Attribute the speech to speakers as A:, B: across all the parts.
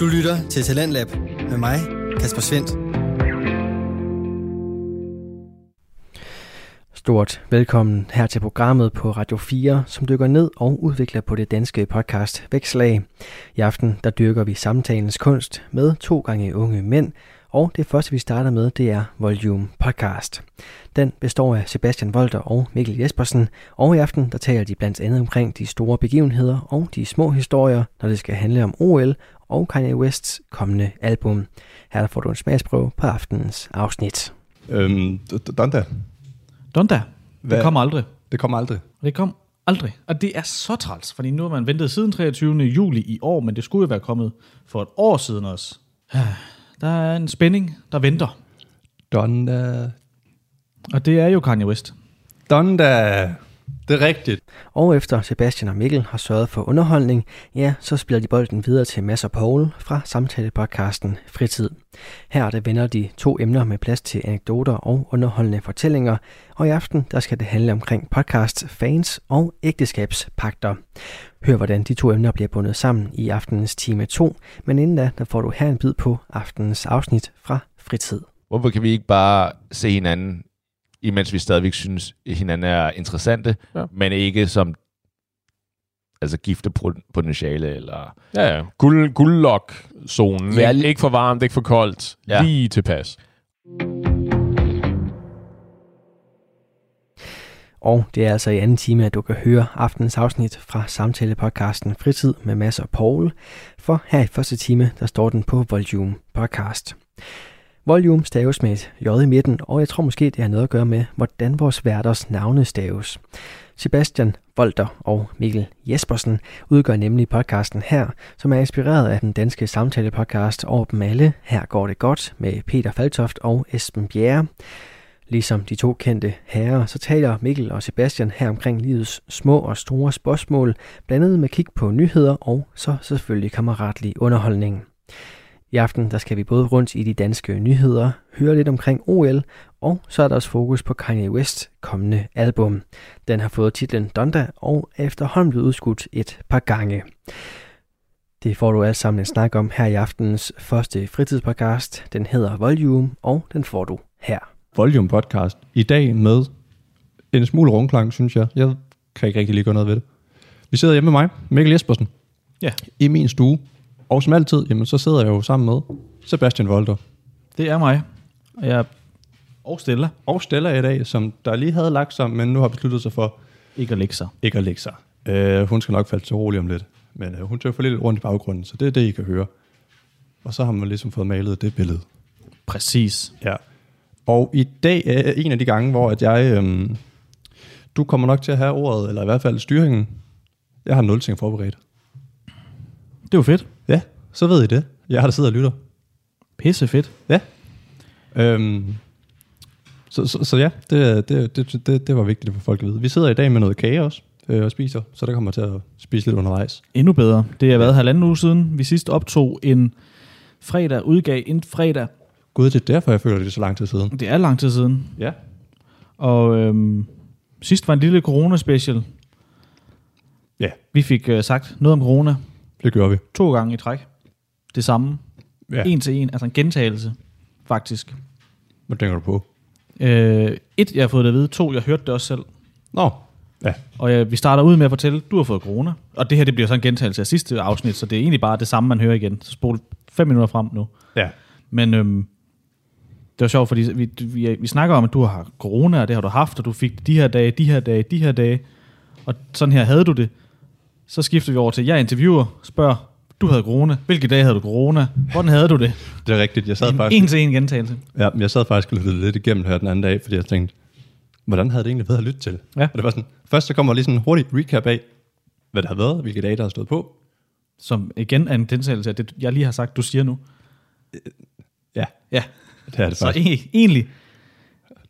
A: Du lytter til Talentlab med mig, Kasper Svendt.
B: Stort velkommen her til programmet på Radio 4, som dykker ned og udvikler på det danske podcast Vækslag. I aften der dyrker vi samtalens kunst med to gange unge mænd, og det første vi starter med, det er Volume Podcast. Den består af Sebastian Volter og Mikkel Jespersen, og i aften der taler de blandt andet omkring de store begivenheder og de små historier, når det skal handle om OL og Kanye Wests kommende album. Her får du en smagsprøve på aftenens afsnit.
C: Øhm, Donda,
D: Donda,
C: Hvad?
D: det kom aldrig.
C: det kommer aldrig.
D: Og det kom aldrig. Og det er så træls, fordi nu har man ventet siden 23. juli i år, men det skulle jo være kommet for et år siden også. Ah, Der er en spænding, der venter.
C: Donda.
D: Og det er jo Kanye West.
C: Donda. Det er rigtigt.
B: Og efter Sebastian og Mikkel har sørget for underholdning, ja, så spiller de bolden videre til Mads og Poul fra samtalepodcasten Fritid. Her der vender de to emner med plads til anekdoter og underholdende fortællinger, og i aften der skal det handle omkring podcast, fans og ægteskabspakter. Hør hvordan de to emner bliver bundet sammen i aftenens time 2, men inden da, der får du her en bid på aftenens afsnit fra Fritid.
E: Hvorfor kan vi ikke bare se hinanden, imens vi stadigvæk synes, at hinanden er interessante,
F: Ja.
E: ja. men ikke som altså giftepotentiale eller...
F: Ja, ja. Guld, guldlok-zonen.
E: Ja,
F: Ja,
E: lige-
F: ikke for varmt, ikke for koldt.
E: Ja.
F: Ja. Lige tilpas.
B: Og det er altså i anden time, at du kan høre aftenens afsnit fra samtalepodcasten Fritid med Mads og Poul. For her i første time, der står den på Volume Podcast. Volume staves med et J i midten, og jeg tror måske, det har noget at gøre med, hvordan vores værters navne staves. Sebastian Volter og Mikkel Jespersen udgør nemlig podcasten her, som er inspireret af den danske samtalepodcast over dem alle. Her går det godt med Peter Faltoft og Esben Bjerre. Ligesom de to kendte herrer, så taler Mikkel og Sebastian her omkring livets små og store spørgsmål, blandet med kig på nyheder og så selvfølgelig kammeratlig underholdning. I aften der skal vi både rundt i de danske nyheder, høre lidt omkring OL, og så er der også fokus på Kanye West kommende album. Den har fået titlen Donda og er efterhånden blevet udskudt et par gange. Det får du alt sammen en snak om her i aftenens første fritidspodcast. Den hedder Volume, og den får du her.
C: Volume podcast. I dag med en smule rumklang, synes jeg. Jeg kan ikke rigtig lige gøre noget ved det. Vi sidder hjemme med mig, Mikkel Jespersen,
D: Ja,
C: i min stue. Og som altid, jamen, så sidder jeg jo sammen med Sebastian Volter.
D: det er mig. Og jeg og Stella
C: Og Stella i dag, som der lige havde lagt sig, men nu har besluttet sig for
D: ikke at lægge sig.
C: ikke at lægge sig. Øh, hun skal nok falde til rolig om lidt. Men øh, hun tøffer lidt rundt i baggrunden, så det er det, I kan høre. Og så har man ligesom fået malet det billede.
D: Præcis.
C: Ja. Og i dag er en af de gange, hvor at jeg... Øhm, du kommer nok til at have ordet, eller i hvert fald styringen. Jeg har nul ting forberedt.
D: Det var fedt.
C: Ja, så ved I det. Jeg har der sidder og lytter.
D: Pisse fedt.
C: Ja. Øhm, så, så, så ja, det, det, det, det, det var vigtigt for folk at vide. Vi sidder i dag med noget kage også, øh, og spiser, så der kommer til at spise lidt undervejs.
D: Endnu bedre. Det har været halvanden uge siden. Vi sidst optog en fredag, udgav en fredag.
C: Gud, det er derfor, jeg føler det er så lang tid siden.
D: Det er lang tid siden.
C: Ja.
D: Og øhm, sidst var en lille corona-special.
C: Ja,
D: Vi fik øh, sagt noget om corona
C: det gør vi.
D: to gange i træk. Det samme.
C: Ja.
D: Ja. En til en. Altså en gentagelse, faktisk.
C: Hvad tænker du på?
D: Øh, et, jeg har fået det at vide. To, jeg hørte det også selv.
C: Nå, ja.
D: Og øh, vi starter ud med at fortælle, du har fået corona. Og det her det bliver så en gentagelse af sidste afsnit, så det er egentlig bare det samme, man hører igen. Så spol fem minutter frem nu.
C: Ja.
D: Men øhm, det var sjovt, fordi vi, vi, vi snakker om, at du har corona, og det har du haft, og du fik det de her dage, de her dage, de her dage. Og sådan her havde du det. Så skifter vi over til, jeg interviewer, spørger, du havde corona. Hvilke dage havde du corona? Hvordan havde du det?
C: Det er rigtigt. Jeg sad faktisk...
D: En til en gentagelse.
C: Ja, men jeg sad faktisk og lyttede lidt igennem her den anden dag, fordi jeg tænkte, hvordan havde det egentlig været at lytte til?
D: Ja.
C: Og det var sådan, først så kommer lige sådan en hurtig recap af, hvad der har været, hvilke dage, der har stået på.
D: Som igen er en gentagelse af det, jeg lige har sagt, du siger nu.
C: Ja,
D: Ja,
C: det er det
D: så
C: faktisk.
D: e- egentlig,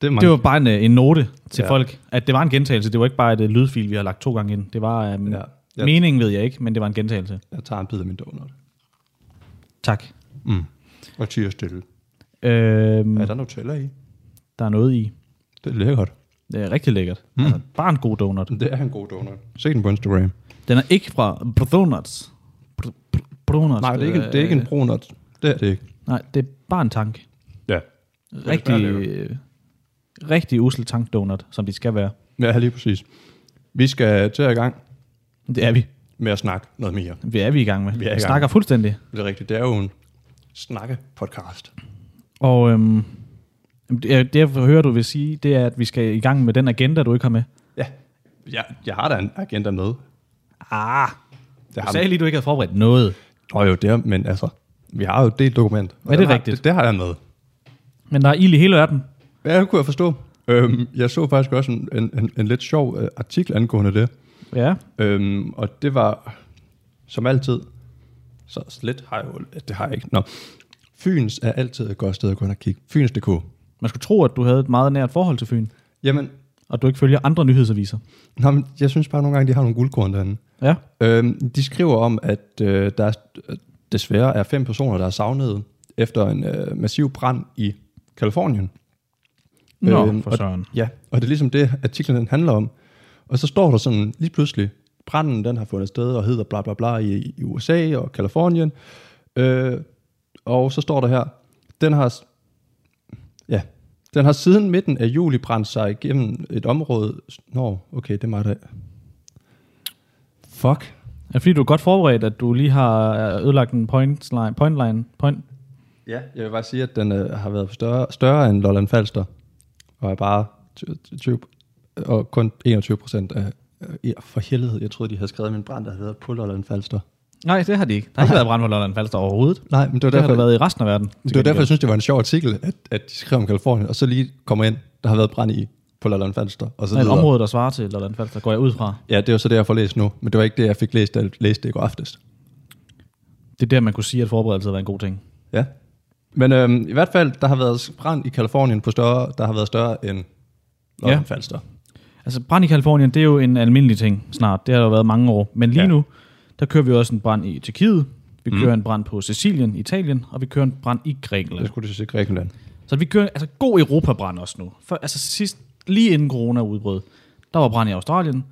C: det er mange.
D: det var bare en, øh, en note til
C: Ja.
D: ja. folk, at det var en gentagelse. Det var ikke bare et øh, lydfil, vi har lagt to gange ind. Det var, øhm,
C: Ja.
D: ja.
C: Ja.
D: meningen ved jeg ikke, men det var en gentagelse.
C: Jeg tager en bid af min donut.
D: Tak. Mm.
C: Og tiger stille.
D: Øhm,
C: Er der Nutella i?
D: der er noget i.
C: Mm. Det er lækkert.
D: Det er rigtig lækkert. Mm. Altså, bare en god donut.
C: Det er en god donut. Se den på Instagram.
D: Den er ikke fra Donuts. brunert.
C: Nej, det er ikke, det er ikke en
D: Øh,
C: brunert. Det er det ikke.
D: Nej, det er bare en tank.
F: Ja.
D: Rigtig, øh, rigtig usel tankdonut, som de skal være.
C: Ja, lige præcis. Vi skal til i gang
D: Det er vi.
C: med at snakke noget mere.
D: Det er vi i gang med. Vi
C: i gang.
D: snakker fuldstændig.
C: Det er rigtigt. Det er jo en snakke-podcast.
D: Og øhm, det, jeg- det, jeg hører, du vil sige, det er, at vi skal i gang med den agenda, du ikke har med.
C: Ja, jeg, jeg har da en agenda med.
D: Ah,
C: Det
D: du
C: har
D: sagde lige, du ikke havde forberedt noget.
C: Nå jo, det er, men altså, vi har jo et delt dokument. Og
D: Ja, det er
C: den har-
D: rigtigt.
C: Det, det har jeg med.
D: Men der er ild i hele verden.
C: Ja, det kunne jeg forstå. Øhm, jeg så faktisk også en, en, en, en lidt sjov øh, artikel angående det.
D: Ja,
C: Øhm, og det var, som altid, så slet har jeg jo, det har jeg ikke. Nå. Fyns er altid et godt sted at gå ind og kigge. Fyns.dk.
D: man skulle tro, at du havde et meget nært forhold til Fyn,
C: Jamen,
D: og du ikke følger andre nyhedsaviser.
C: nå, men jeg synes bare nogle gange, de har nogle guldkorn derinde.
D: Ja,
C: Øhm, de skriver om, at øh, der er, desværre er fem personer, der er savnet efter en øh, massiv brand i Kalifornien.
D: Nå,
C: Øhm,
D: for
C: og-
D: søren.
C: Ja, og det er ligesom det, artiklen den handler om. Og så står der sådan lige pludselig, branden den har fundet sted og hedder bla bla bla i, i USA og Kalifornien. Øh, og så står der her, den har, s- ja, den har siden midten af juli brændt sig igennem et område. Nå, okay, det er mig der. Fuck.
D: Ja, fordi du er godt forberedt, at du lige har øh, ødelagt en pointline. pointline point.
C: Ja, jeg vil bare sige, at den øh, har været større, større end Lolland Falster, og er bare 20, 20, og kun 21 procent af... øh, ja, For helvede, jeg troede, de havde skrevet min brand, der havde været på Lolland Falster.
D: Nej, det har de ikke. Der har ikke været brand på Lolland Falster overhovedet.
C: Nej, men det var
D: Det har
C: derfor,
D: der været i resten af verden.
C: det var derfor jeg synes, det var en sjov artikel, at, at de skrev om Kalifornien, og så lige kommer ind, der har været brand i på Lolland Falster. Og så
D: Et
C: videre.
D: område, der svarer til Lolland Falster, går jeg ud fra.
C: Ja, det er jo så det, jeg får læst nu, men det var ikke det, jeg fik læst, da jeg læste det i går aftes.
D: Det er der, man kunne sige, at forberedelse har været en god ting.
C: Ja. Men øhm, i hvert fald, der har været brand i Kalifornien, på større, der har været større end Lolland
D: Ja.
C: Falster.
D: Altså, brand i Kalifornien, det er jo en almindelig ting snart. Det har der jo været mange år. Men lige ja. Mm.
C: Ja.
D: nu, der kører vi også en brand i Tjekkiet. Vi kører en brand på Sicilien, Italien, og vi kører en brand i Grækenland.
C: Det skulle du sige Grækenland.
D: Så vi kører altså god Europabrand også nu. For, altså sidst, lige inden corona udbrød, der var brand i Australien.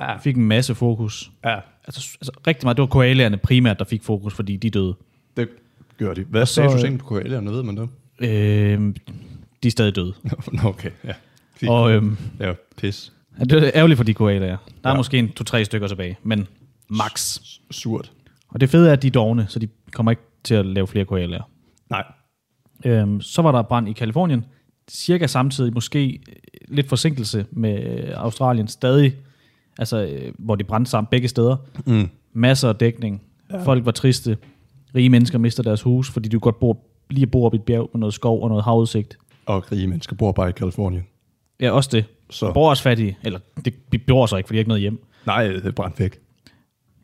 D: Ja. Fik en masse fokus.
C: Ja,
D: Altså, s- altså rigtig meget. Det var koalaerne primært, der fik fokus, fordi de døde.
C: Det gør de. Hvad
D: sagde du
C: på koalierne, ved man det?
D: Øh, de er stadig døde.
C: Nå, okay. Ja, Fint.
D: Og øhm,
C: ja pis.
D: det er ærgerligt for de koalaer. Der er ja. måske en to-tre stykker tilbage, men max.
C: Surt.
D: Og det fede er, at de er dogne, så de kommer ikke til at lave flere koalaer.
C: Nej.
D: Øhm, så var der brand i Kalifornien, cirka samtidig, måske øh, lidt forsinkelse med øh, Australien stadig, altså øh, hvor de brændte sammen begge steder. Mm. Masser af dækning. Ja. Folk var triste. Rige mennesker mister deres hus, fordi du godt bor, lige bor op i et bjerg med noget skov og noget havudsigt.
C: Og rige mennesker bor bare i Kalifornien.
D: Ja, også det.
C: Så.
D: Bor også fattige. Eller det, de bor så ikke, fordi de har ikke noget hjem.
C: Nej, det er brændt væk.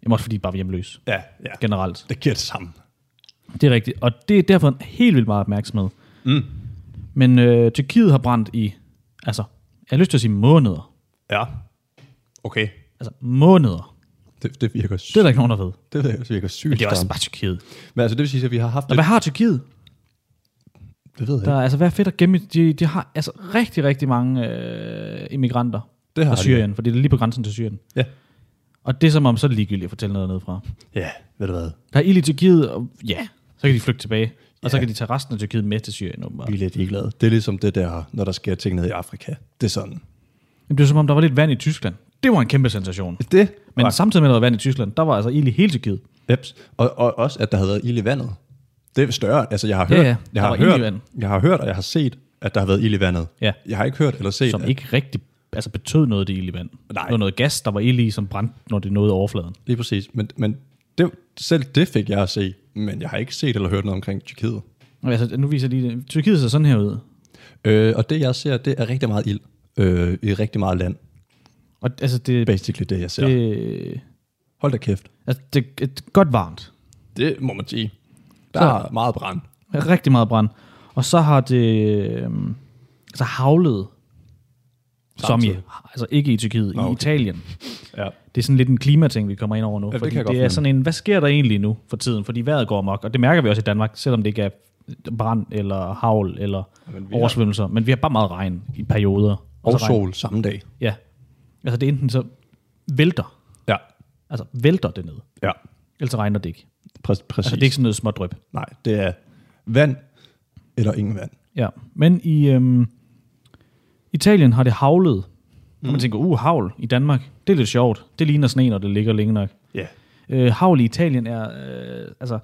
D: Jamen også fordi de bare var hjemløse
C: Ja, ja.
D: generelt.
C: Det giver det sammen.
D: Det er rigtigt, og det er derfor en helt vildt meget opmærksomhed. Mm. Men øh, Tyrkiet har brændt i, altså, jeg har lyst til at sige måneder.
C: Ja. Okay.
D: Altså måneder.
C: Det, det virker sygt.
D: Det er der ikke nogen, der ved.
C: Det, det virker sygt.
D: Men det er også
C: stramt.
D: bare Tyrkiet.
C: Men altså, det vil sige, at vi har haft
D: Og
C: det.
D: hvad har Tyrkiet?
C: Det ved jeg
D: Der
C: ikke.
D: er, altså, hvad er fedt at gemme? De, de har altså rigtig, rigtig mange øh, immigranter
C: Det har
D: fra Syrien, fordi det er lige på grænsen til Syrien.
C: Ja.
D: Og det er som om, så er det ligegyldigt at fortælle noget nedefra.
C: Ja, ved du hvad?
D: Der er ild i Tyrkiet, og ja, så kan de flygte tilbage. Og så
C: Ja.
D: kan de tage resten af Tyrkiet med til Syrien, åbenbart.
C: Vi er lidt ligeglade. Det er ligesom det der, når der sker ting nede i Afrika. Det er sådan.
D: Jamen, Det er som om, der var lidt vand i Tyskland. Det var en kæmpe sensation.
C: Det?
D: Men samtidig med, at der var vand i Tyskland, der var altså ild i hele Tyrkiet.
C: Eps. Og, og også, at der havde været ild i vandet. Det er større. Altså, jeg har
D: Ja,
C: hørt,
D: ja. Der
C: jeg, har
D: var ild i
C: hørt
D: vandet.
C: jeg har hørt, og jeg har set, at der har været ild i vandet.
D: Ja.
C: Jeg har ikke hørt eller set,
D: som
C: at-
D: ikke rigtig altså betød noget, det ild i vand.
C: Nej.
D: Det var noget gas, der var ild i, som brændte, når det nåede overfladen.
C: Lige præcis. Men, men det, selv det fik jeg at se, men jeg har ikke set eller hørt noget omkring Tyrkiet.
D: Og Altså, nu viser jeg lige det. Tyrkiet ser sådan her ud.
C: Øh, og det, jeg ser, det er rigtig meget ild øh, i rigtig meget land.
D: Og altså, det, det,
C: Basically det, jeg ser. Det,
D: det,
C: Hold da kæft.
D: altså, det er godt varmt.
C: Det må man sige. Der er meget brand.
D: Rigtig meget brand. Og så har det øhm, altså havlet. Som i,
C: Samtidig.
D: altså ikke i Tyrkiet, i
C: okay.
D: Italien.
C: Ja,
D: Det er sådan lidt en klimating, vi kommer ind over nu.
C: det
D: fordi
C: kan jeg
D: det,
C: godt
D: er
C: fornemme.
D: sådan en, hvad sker der egentlig nu for tiden? Fordi vejret går amok, og det mærker vi også i Danmark, selvom det ikke er brand eller havl eller
C: Men
D: men
C: vi har-
D: oversvømmelser. Men vi har bare meget regn i perioder.
C: og
D: så regn.
C: sol samme dag.
D: Ja. Altså det er enten så vælter,
C: Ja,
D: altså vælter det ned,
C: ja.
D: eller så regner det ikke.
C: Præ- præcis.
D: Altså, det er ikke sådan noget smådryp.
C: Nej, det er vand eller ingen vand.
D: Ja, men i øhm, Italien har det havlet. Mm. Man tænker, uh, havl i Danmark. Det er lidt sjovt. Det ligner sne, når det ligger længe nok.
C: Ja.
D: Øh, havl i Italien er øh, altså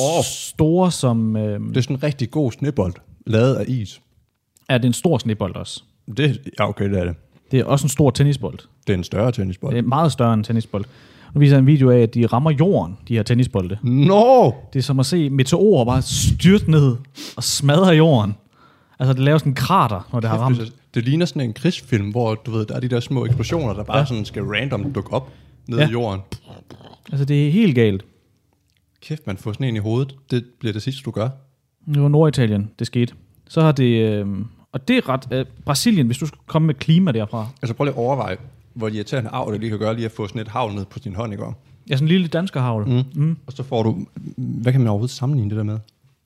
D: oh. store som... Øh,
C: Det er sådan en rigtig god snebold, lavet af is.
D: er det en stor snebold også?
C: Det, ja, okay, det er det.
D: Det er også en stor tennisbold.
C: Det er en større tennisbold.
D: Det er meget større end en tennisbold. Nu viser jeg en video af, at de rammer jorden, de her tennisbolde.
C: Nå!
D: Det er som at se meteorer bare styrte ned og smadre jorden. Altså, det laver sådan en krater, når det har ramt.
C: Det ligner sådan en krigsfilm, hvor du ved, der er de der små eksplosioner, der bare ja. sådan skal random dukke op ned ja.
D: Ja.
C: i jorden.
D: Altså, det er helt galt.
C: Kæft, man får sådan en i hovedet. Det bliver det sidste, du gør.
D: Det var Norditalien, det skete. Så har det... Øh, og det er ret... Øh, Brasilien, hvis du skulle komme med klima derfra.
C: Altså prøv lige at overveje, hvor irriterende arv det lige kan gøre, lige at få sådan et havl ned på sin hånd, ikke? også?
D: Ja, sådan en lille danskerhavl. Mm. Mm.
C: Og så får du, hvad kan man overhovedet sammenligne det der med?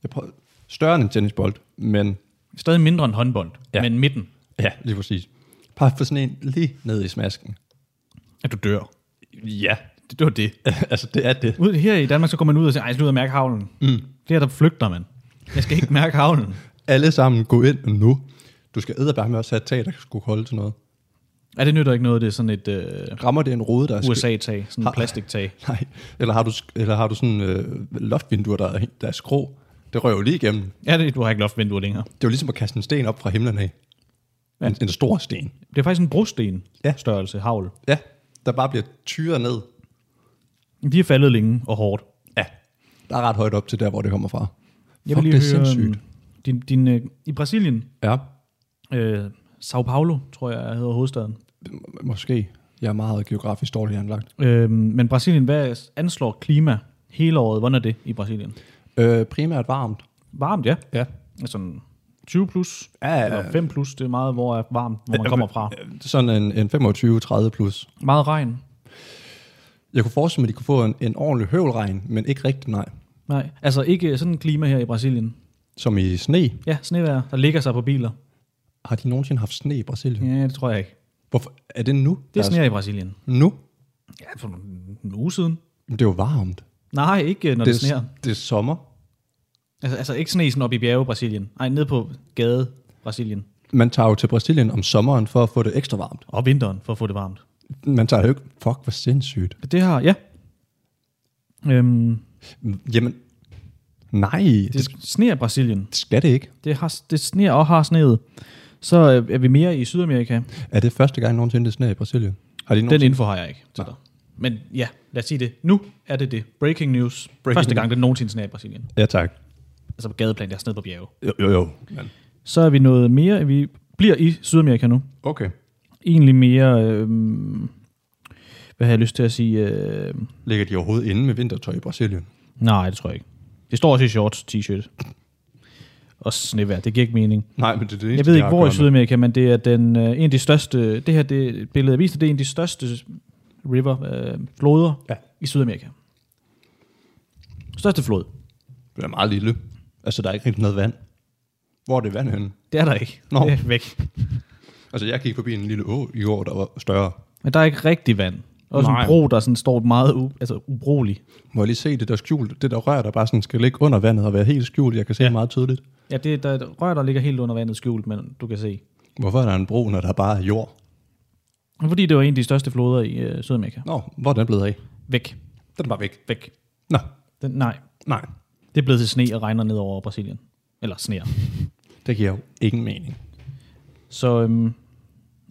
C: Jeg prøver, større end en tennisbold, men
D: Stadig mindre end håndbold,
C: Ja.
D: ja. men midten,
C: ja, lige præcis. Bare få sådan en lige ned i smasken.
D: at du dør.
C: Ja,
D: Det, det var det.
C: altså det er det.
D: Ud, her i Danmark, så går man ud og siger, ej, jeg skal ud og mærke havlen. Mm. Det her, der flygter man. Jeg skal ikke mærke havlen.
C: Alle sammen gå ind nu. Du skal æde bare med også have et tag, der skulle holde til noget.
D: Ja, det nytter ikke noget, det er sådan et øh,
C: Rammer det en rode, der er skæv-
D: USA-tag, sådan
C: Har-
D: et plastiktag.
C: Nej, eller har du, sk- eller har du sådan øh, loftvinduer, der er, der er skrå? Det rører jo lige igennem.
D: Ja, det, du har ikke loftvinduer længere.
C: Det er jo ligesom at kaste en sten op fra himlen af. Ja. En, en stor sten.
D: Det er faktisk en brosten
C: Ja.
D: ja. størrelse havl.
C: Ja, der bare bliver tyret ned.
D: De er faldet længe og hårdt.
C: Ja. Der er ret højt op til der, hvor det kommer fra.
D: Jeg
C: Fuck,
D: vil lige
C: det er
D: høre,
C: sindssygt.
D: øhm, Din, din, øh, I Brasilien,
C: Ja,
D: øh, Sao Paulo, tror jeg hedder hovedstaden.
C: m- måske. Jeg er meget geografisk dårligt anlagt.
D: Øh, men Brasilien, hvad anslår klima hele året? Hvordan er det i Brasilien?
C: Øh, primært varmt.
D: Varmt, ja.
C: Ja.
D: Sådan 20 plus,
C: Ja, ja, ja.
D: eller 5 plus, det er meget, hvor er varmt, hvor man kommer fra.
C: Sådan en, en 25-30 plus.
D: Meget regn.
C: Jeg kunne forestille mig, at de kunne få en, en ordentlig høvlregn, men ikke rigtig nej.
D: Nej, altså ikke sådan et klima her i Brasilien.
C: Som i sne.
D: Ja, snevejr, der ligger sig på biler.
C: Har de nogensinde haft sne i Brasilien?
D: Ja, det tror jeg ikke.
C: Hvorfor? Er det nu?
D: Det
C: der
D: sneer i Brasilien.
C: Nu?
D: Ja, for en en uge siden.
C: Men det er jo varmt.
D: Nej, ikke øh, når det, det sneer.
C: det er sommer.
D: Altså, altså ikke sne sådan op i bjerge Brasilien. Nej, ned på gade Brasilien.
C: Man tager jo til Brasilien om sommeren for at få det ekstra varmt.
D: Og vinteren, for at få det varmt.
C: Man tager jo ikke... Fuck, hvor sindssygt.
D: Det har, ja. Øhm,
C: Jamen, nej, det,
D: det sneer i Brasilien.
C: det skal det ikke.
D: Det, har, det sneer og har sneet. Så øh, er vi mere i Sydamerika.
C: Er det første gang nogensinde, det sneer i Brasilien? Har de
D: Den
C: nogensinde...
D: info har jeg ikke til dig. Men ja, lad os sige det. Nu er det det. Breaking news. Breaking Første gang, det nogensinde sneer i Brasilien.
C: Ja, tak.
D: Altså på gadeplan, der er sneet på bjerge.
C: Jo, jo, jo. Men.
D: Så er vi noget mere. Vi bliver i Sydamerika nu.
C: Okay.
D: Egentlig mere... Øh, hvad har jeg lyst til at sige? Øh,
C: Ligger de overhovedet inde med vintertøj i Brasilien?
D: Nej, det tror jeg ikke. Det står også i shorts, t-shirt. Og snevær, det giver ikke mening.
C: Nej, men det er det eneste,
D: Jeg ved
C: de
D: ikke,
C: har
D: hvor
C: at
D: i
C: gøre med.
D: Sydamerika, men det er den, øh, en af de største, det her det billede, jeg viste, det er en af de største river, øh, floder
C: Ja.
D: ja. i Sydamerika. Største flod.
C: Det er meget lille. Altså, der er ikke rigtig noget vand. Hvor er det vand henne?
D: Det er der ikke.
C: Nå.
D: Det er væk.
C: Altså, jeg gik forbi en lille å i år, der var større.
D: Men der er ikke rigtig vand. Også
C: Nej.
D: en bro, der sådan står meget u, altså, ubrugelig.
C: Må jeg lige se det der skjult, det der rør, der bare sådan skal ligge under vandet og være helt skjult. Jeg kan se ja. meget tydeligt.
D: Ja, det er, der er et rør, der ligger helt under vandet skjult, men du kan se.
C: Hvorfor er der en bro, når der bare er jord?
D: Fordi det var en af de største floder i øh, Sydamerika.
C: Nå, hvor er den blevet af?
D: Væk.
C: Den er bare væk.
D: Væk.
C: Nå,
D: Den, nej,
C: nej.
D: Det er blevet til sne og regner ned over Brasilien. Eller sneer.
C: Det giver jo ingen mening.
D: Så øhm,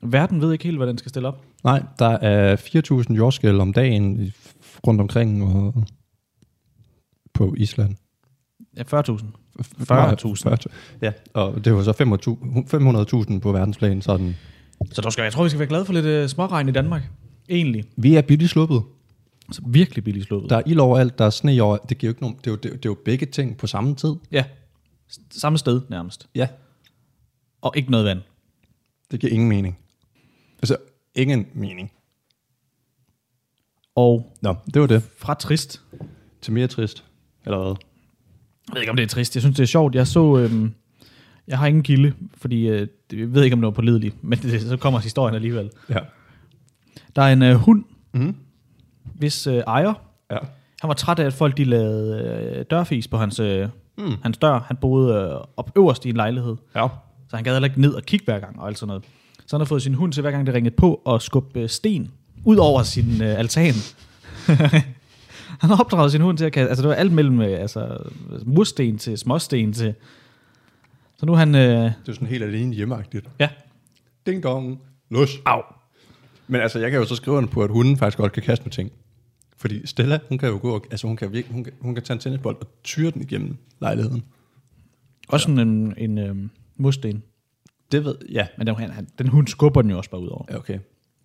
D: verden ved ikke helt, hvad den skal stille op.
C: Nej, der er 4.000 jordskæl om dagen i- rundt omkring og på Island.
D: Ja, 40.000. 40.000.
C: 40.000. Ja, og det var så 500.000 på verdensplan. Sådan.
D: Så der skal, jeg tror, vi skal være glade for lidt øh, småregn i Danmark. Egentlig.
C: Vi er billigt sluppet.
D: Altså, virkelig billigt sluppet.
C: Der er ild overalt, der er sne over. Det, giver jo ikke nogen, det, er jo, det, er jo- det er jo begge ting på samme tid.
D: Ja. S- Samme sted nærmest.
C: Ja,
D: Og ikke noget vand.
C: det giver ingen mening. Altså, ingen mening.
D: Og
C: Nå, det var det.
D: fra trist.
C: Til mere trist. Eller hvad?
D: Jeg ved ikke, om det er trist. Jeg synes, det er sjovt. Jeg så... Øhm, jeg har ingen kilde, fordi øh, det- jeg ved ikke, om det var pålidelig, men det, så kommer historien alligevel.
C: Ja.
D: Der er en øh, hund,
C: Mm-hmm.
D: hvis øh, ejer
C: ja.
D: Han var træt af, at folk de lavede øh, dørfis på hans, øh,
C: Mm.
D: mm. hans dør. Han boede øh, op øverst i en lejlighed.
C: Ja.
D: Så han gad heller ikke ned og kigge hver gang og alt sådan noget. Så han har fået sin hund til hver gang, det ringede på, at skubbe øh, sten ud over sin øh, altan. han har opdraget sin hund til at kaste, altså det var alt mellem øh, altså, mursten til småsten til. Så nu er han, øh,
C: Det er sådan helt alene hjemmeagtigt.
D: ja,
C: Ding dong. Lus. Au. Men altså, jeg kan jo så skrive under på, at hunden faktisk godt kan kaste med ting. Fordi Stella, hun kan jo gå og, altså hun kan, virkelig, hun kan, hun kan tage en tennisbold og tyre den igennem lejligheden.
D: også ja. en, en øh, mursten.
C: Det ved jeg.
D: Men den, han, han, den hund skubber den jo også bare ud over.
C: Ja, okay.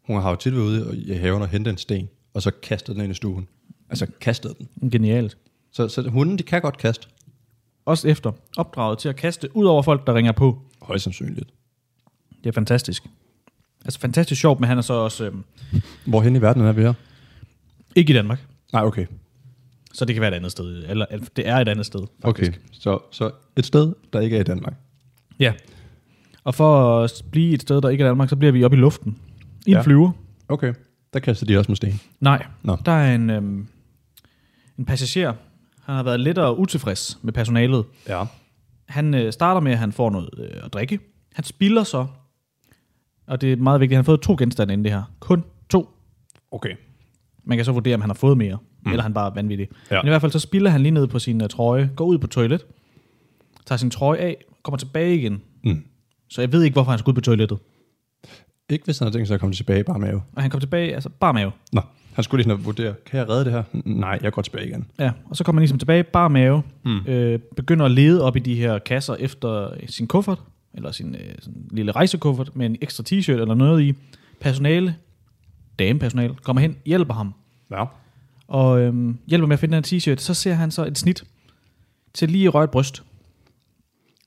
C: Hun har jo tit været ude i haven og hentet en sten, og så kastet den ind i stuen. Altså kastet den.
D: Genialt.
C: Så, så hunden, de kan godt kaste.
D: Også efter opdraget til at kaste ud over folk, der ringer på.
C: Højst sandsynligt.
D: Det er fantastisk. Altså fantastisk sjovt, men han er så også øh,
C: Hvorhen i verden er vi her?
D: ikke i Danmark.
C: Nej, okay.
D: Så det kan være et andet sted. Eller eller det er et andet sted.
C: Okay, så, så et sted, der ikke er i Danmark.
D: Ja. Og for at blive et sted, der ikke er Danmark, så bliver vi oppe i luften. I en
C: Ja.
D: ja. flyver.
C: Okay. Der kaster de også med sten.
D: Nej.
C: Nå.
D: Der er en, øhm, en passager. Han har været lidt og utilfreds med personalet.
C: Ja.
D: Han øh, starter med, at han får noget øh, at drikke. Han spilder så. Og det er meget vigtigt. Han har fået to genstande inden det her. Kun to.
C: Okay.
D: Man kan så vurdere, om han har fået mere, mm. eller han bare er vanvittig.
C: Ja.
D: Ja. Men i hvert fald så spiller han lige ned på sin uh, trøje, går ud på toilet, tager sin trøje af, kommer tilbage igen.
C: Mm.
D: Så jeg ved ikke, hvorfor han skulle ud på toilettet.
C: Ikke hvis han har tænkt sig at komme tilbage i bare mave.
D: Og han kom tilbage, altså bare mave.
C: Nå, han skulle lige sådan at vurdere, kan jeg redde det her? N- Nej, jeg går tilbage igen.
D: Ja, og så kommer han ligesom tilbage, bare mave, mm. øh, begynder at lede op i de her kasser efter sin kuffert, eller sin, øh, sådan lille rejsekuffert med en ekstra t-shirt eller noget i. Personale, damepersonale, kommer hen, hjælper ham.
C: Ja.
D: og øhm, hjælper med at finde den her t-shirt, så ser han så et snit til lige at røre et bryst.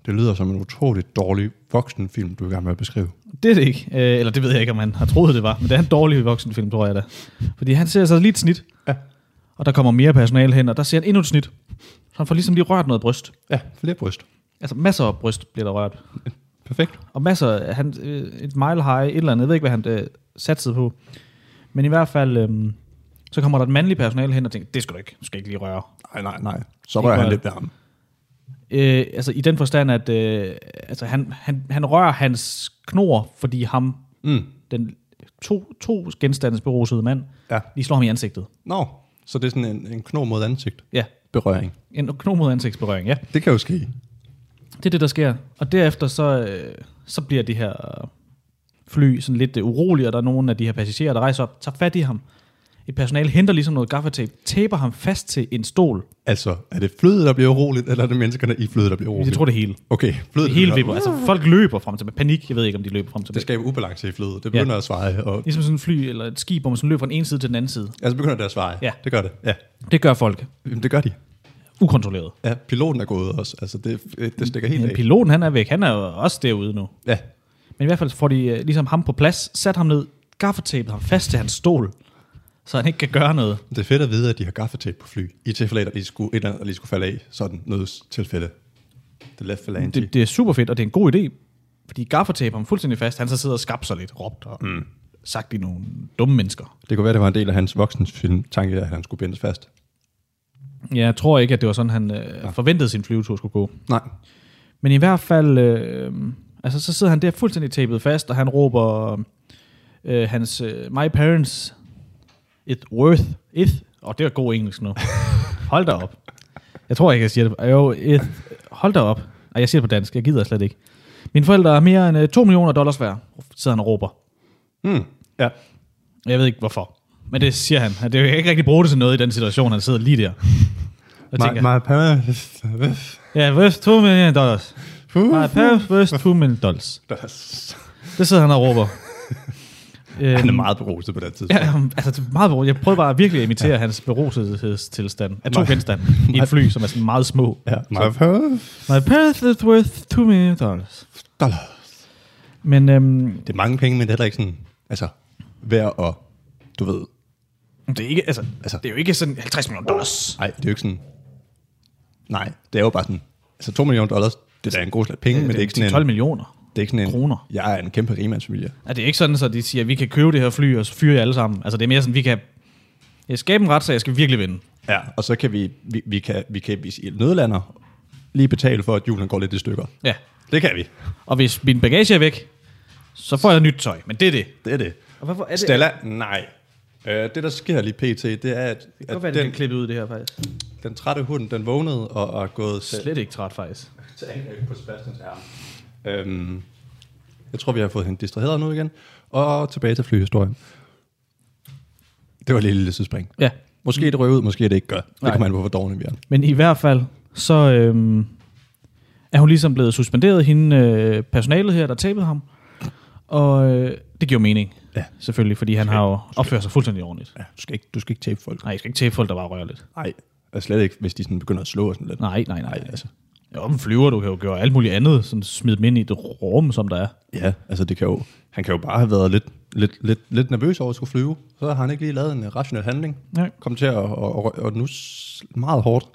C: Det lyder som en utroligt dårlig voksenfilm, du er i gang med at beskrive.
D: Det er det ikke. Øh, eller det ved jeg ikke, om han har troet, det var. Men det er en dårlig voksenfilm, tror jeg da. Fordi han ser så lige et snit.
C: Ja.
D: Og der kommer mere personale hen, og der ser han endnu et snit. Så han får ligesom lige rørt noget bryst.
C: Ja, flere bryst.
D: Altså masser af bryst bliver der rørt.
C: Perfekt.
D: Og masser af, han, øh, et mile high, et eller andet. Jeg ved ikke, hvad han øh, satsede på. Men i hvert fald, øh, så kommer der et mandligt personale hen og tænker, det skal du ikke. Du skal ikke lige røre.
C: Nej, nej, nej. Så rører han
D: rører-
C: lidt ved ham.
D: Øh, altså i den forstand, at øh, altså, han, han, han rører hans knor, fordi ham,
C: Mm.
D: den to, to genstandes berusede mand,
C: Ja.
D: lige slår ham i ansigtet.
C: Nå, så det er sådan en, en kno mod ansigt.
D: Ja,
C: Berøring.
D: en kno mod ansigtsberøring, ja.
C: Det kan jo ske.
D: Det er det, der sker. Og derefter så, øh, så bliver det her øh, fly sådan lidt øh, urolig, og der er nogle af de her passagerer, der rejser op, tager fat i ham. Et personale henter ligesom noget gaffatape, taper ham fast til en stol.
C: Altså, er det flyet, der bliver uroligt, eller er det menneskerne i flyet, der bliver uroligt?
D: Jeg tror det hele.
C: Okay, flyet
D: Det hele
C: der
D: vipper.
C: bliver-
D: Altså folk løber frem til panik. Jeg ved ikke, om de løber frem til
C: Det skaber ubalance i flyet. Det begynder at svare. Og,
D: Ligesom sådan et fly eller et skib, hvor man sådan løber fra den ene side til den anden side.
C: altså begynder det at svare.
D: Ja.
C: Det gør det. Ja.
D: Det gør folk
C: Jamen, det gør de.
D: ukontrolleret.
C: Ja, piloten er gået også. Altså, det, det stikker helt
D: Men
C: af.
D: piloten, han er væk. Han er jo også derude nu.
C: ja.
D: Men i hvert fald får de øh, ligesom ham på plads, sat ham ned, gaffetapet ham fast til hans stol, så han ikke kan gøre noget.
C: Det er fedt at vide, at de har gaffetape på fly. I tilfælde, af, at der lige skulle, et eller andet, der lige skulle falde af. Sådan nødstilfælde. Det left phalange.
D: Det, det er super fedt, og det er en god idé, fordi gaffetape ham fuldstændig fast. Han så sidder og skabser sig lidt, råbt og mm. sagt i nogle dumme mennesker.
C: det kunne være, det var en del af hans voksensfilm, tanke, at han skulle bindes fast.
D: Jeg tror ikke, at det var sådan, han øh, forventede sin flyvetur skulle gå.
C: Nej.
D: Men i hvert fald, øh, altså så sidder han der fuldstændig tapet fast, og han råber øh, hans, øh, my parents, it worth, it, og det er god engelsk nu. Hold da op. Jeg tror ikke, jeg siger det. Jo, it, hold da op. Ej, jeg siger det på dansk, jeg gider slet ikke. Mine forældre er mere end øh, 2 millioner dollars værd, sidder han og råber.
C: Mm. Ja.
D: Jeg ved ikke hvorfor, men det siger han. Det jeg kan ikke rigtig bruge det til noget i den situation, han sidder lige der. Jeg
C: My,
D: tænker,
C: my
D: ja, worth 2 million dollars. My parents worth 2 million dollars. Det sidder han og råber. øhm,
C: Han er meget beruset på det tidspunkt.
D: Ja, altså det er meget beruset. Jeg prøvede bare at virkelig at imitere ja. hans beruselsestilstand af to
C: Nej.
D: genstande i et fly, som er sådan meget små.
C: Ja, my parents.
D: My parents is worth 2 million dollars. Men øhm,
C: Det er mange penge, men det er heller ikke sådan, altså, værd at, du ved,
D: det, er ikke, altså,
C: Altså-
D: altså, det er jo ikke sådan 50 millioner dollars.
C: nej, det er jo ikke sådan, nej, det er jo bare sådan, altså 2 millioner dollars, det er da en god slat penge, men det er ikke sådan
D: 12
C: en,
D: millioner.
C: det er ikke sådan en,
D: kroner.
C: jeg er en kæmpe rigmandsfamilie.
D: Er det er ikke sådan, at de siger, at vi kan købe det her fly, og så fyre jer alle sammen? Altså det er mere sådan, at vi kan ja, skabe en retssag, jeg skal virkelig vinde.
C: Ja, og så kan vi, vi, vi kan, vi kan hvis I nødlander, lige betale for, at julen går lidt i stykker.
D: Ja.
C: Det kan vi.
D: Og hvis min bagage er væk, så får jeg nyt tøj. Men det er det.
C: Det er det.
D: Og hvorfor er det?
C: Stella, nej. Øh, det, der sker lige pt, det er, at,
D: Det kan godt
C: at
D: være, det
C: den,
D: bliver klippet ud, det her faktisk.
C: den trætte hund, den vågnede og, og er gået til,
D: Slet ikke træt, faktisk.
C: til angreb på Sebastians arm. Øhm, jeg tror, vi har fået hende distraheret nu igen. Og tilbage til flyhistorien. Det var lige et lille sidespring.
D: Ja,
C: Måske det røver ud, måske det ikke gør. Det
D: Nej.
C: kommer an på, hvor dogne vi er.
D: men i hvert fald, så øhm, er hun ligesom blevet suspenderet, hende øh, personalet her, der tabede ham. Og øh, det giver mening,
C: Ja.
D: selvfølgelig, fordi han har jo opført sig fuldstændig ordentligt.
C: Ja, du skal ikke, du skal ikke tabe folk.
D: Nej, jeg skal ikke tæppe folk, der bare rører lidt.
C: Nej, og slet ikke, hvis de sådan begynder at slå og sådan lidt.
D: Nej, nej, nej.
C: Nej, altså.
D: Jo, men flyver, du kan jo gøre alt muligt andet, sådan smid dem ind i det rum, som der er.
C: Ja, altså det kan jo, han kan jo bare have været lidt, lidt, lidt, lidt nervøs over at skulle flyve. Så har han ikke lige lavet en øh, rationel handling.
D: Nej.
C: Kom til at, at, at, at nus meget hårdt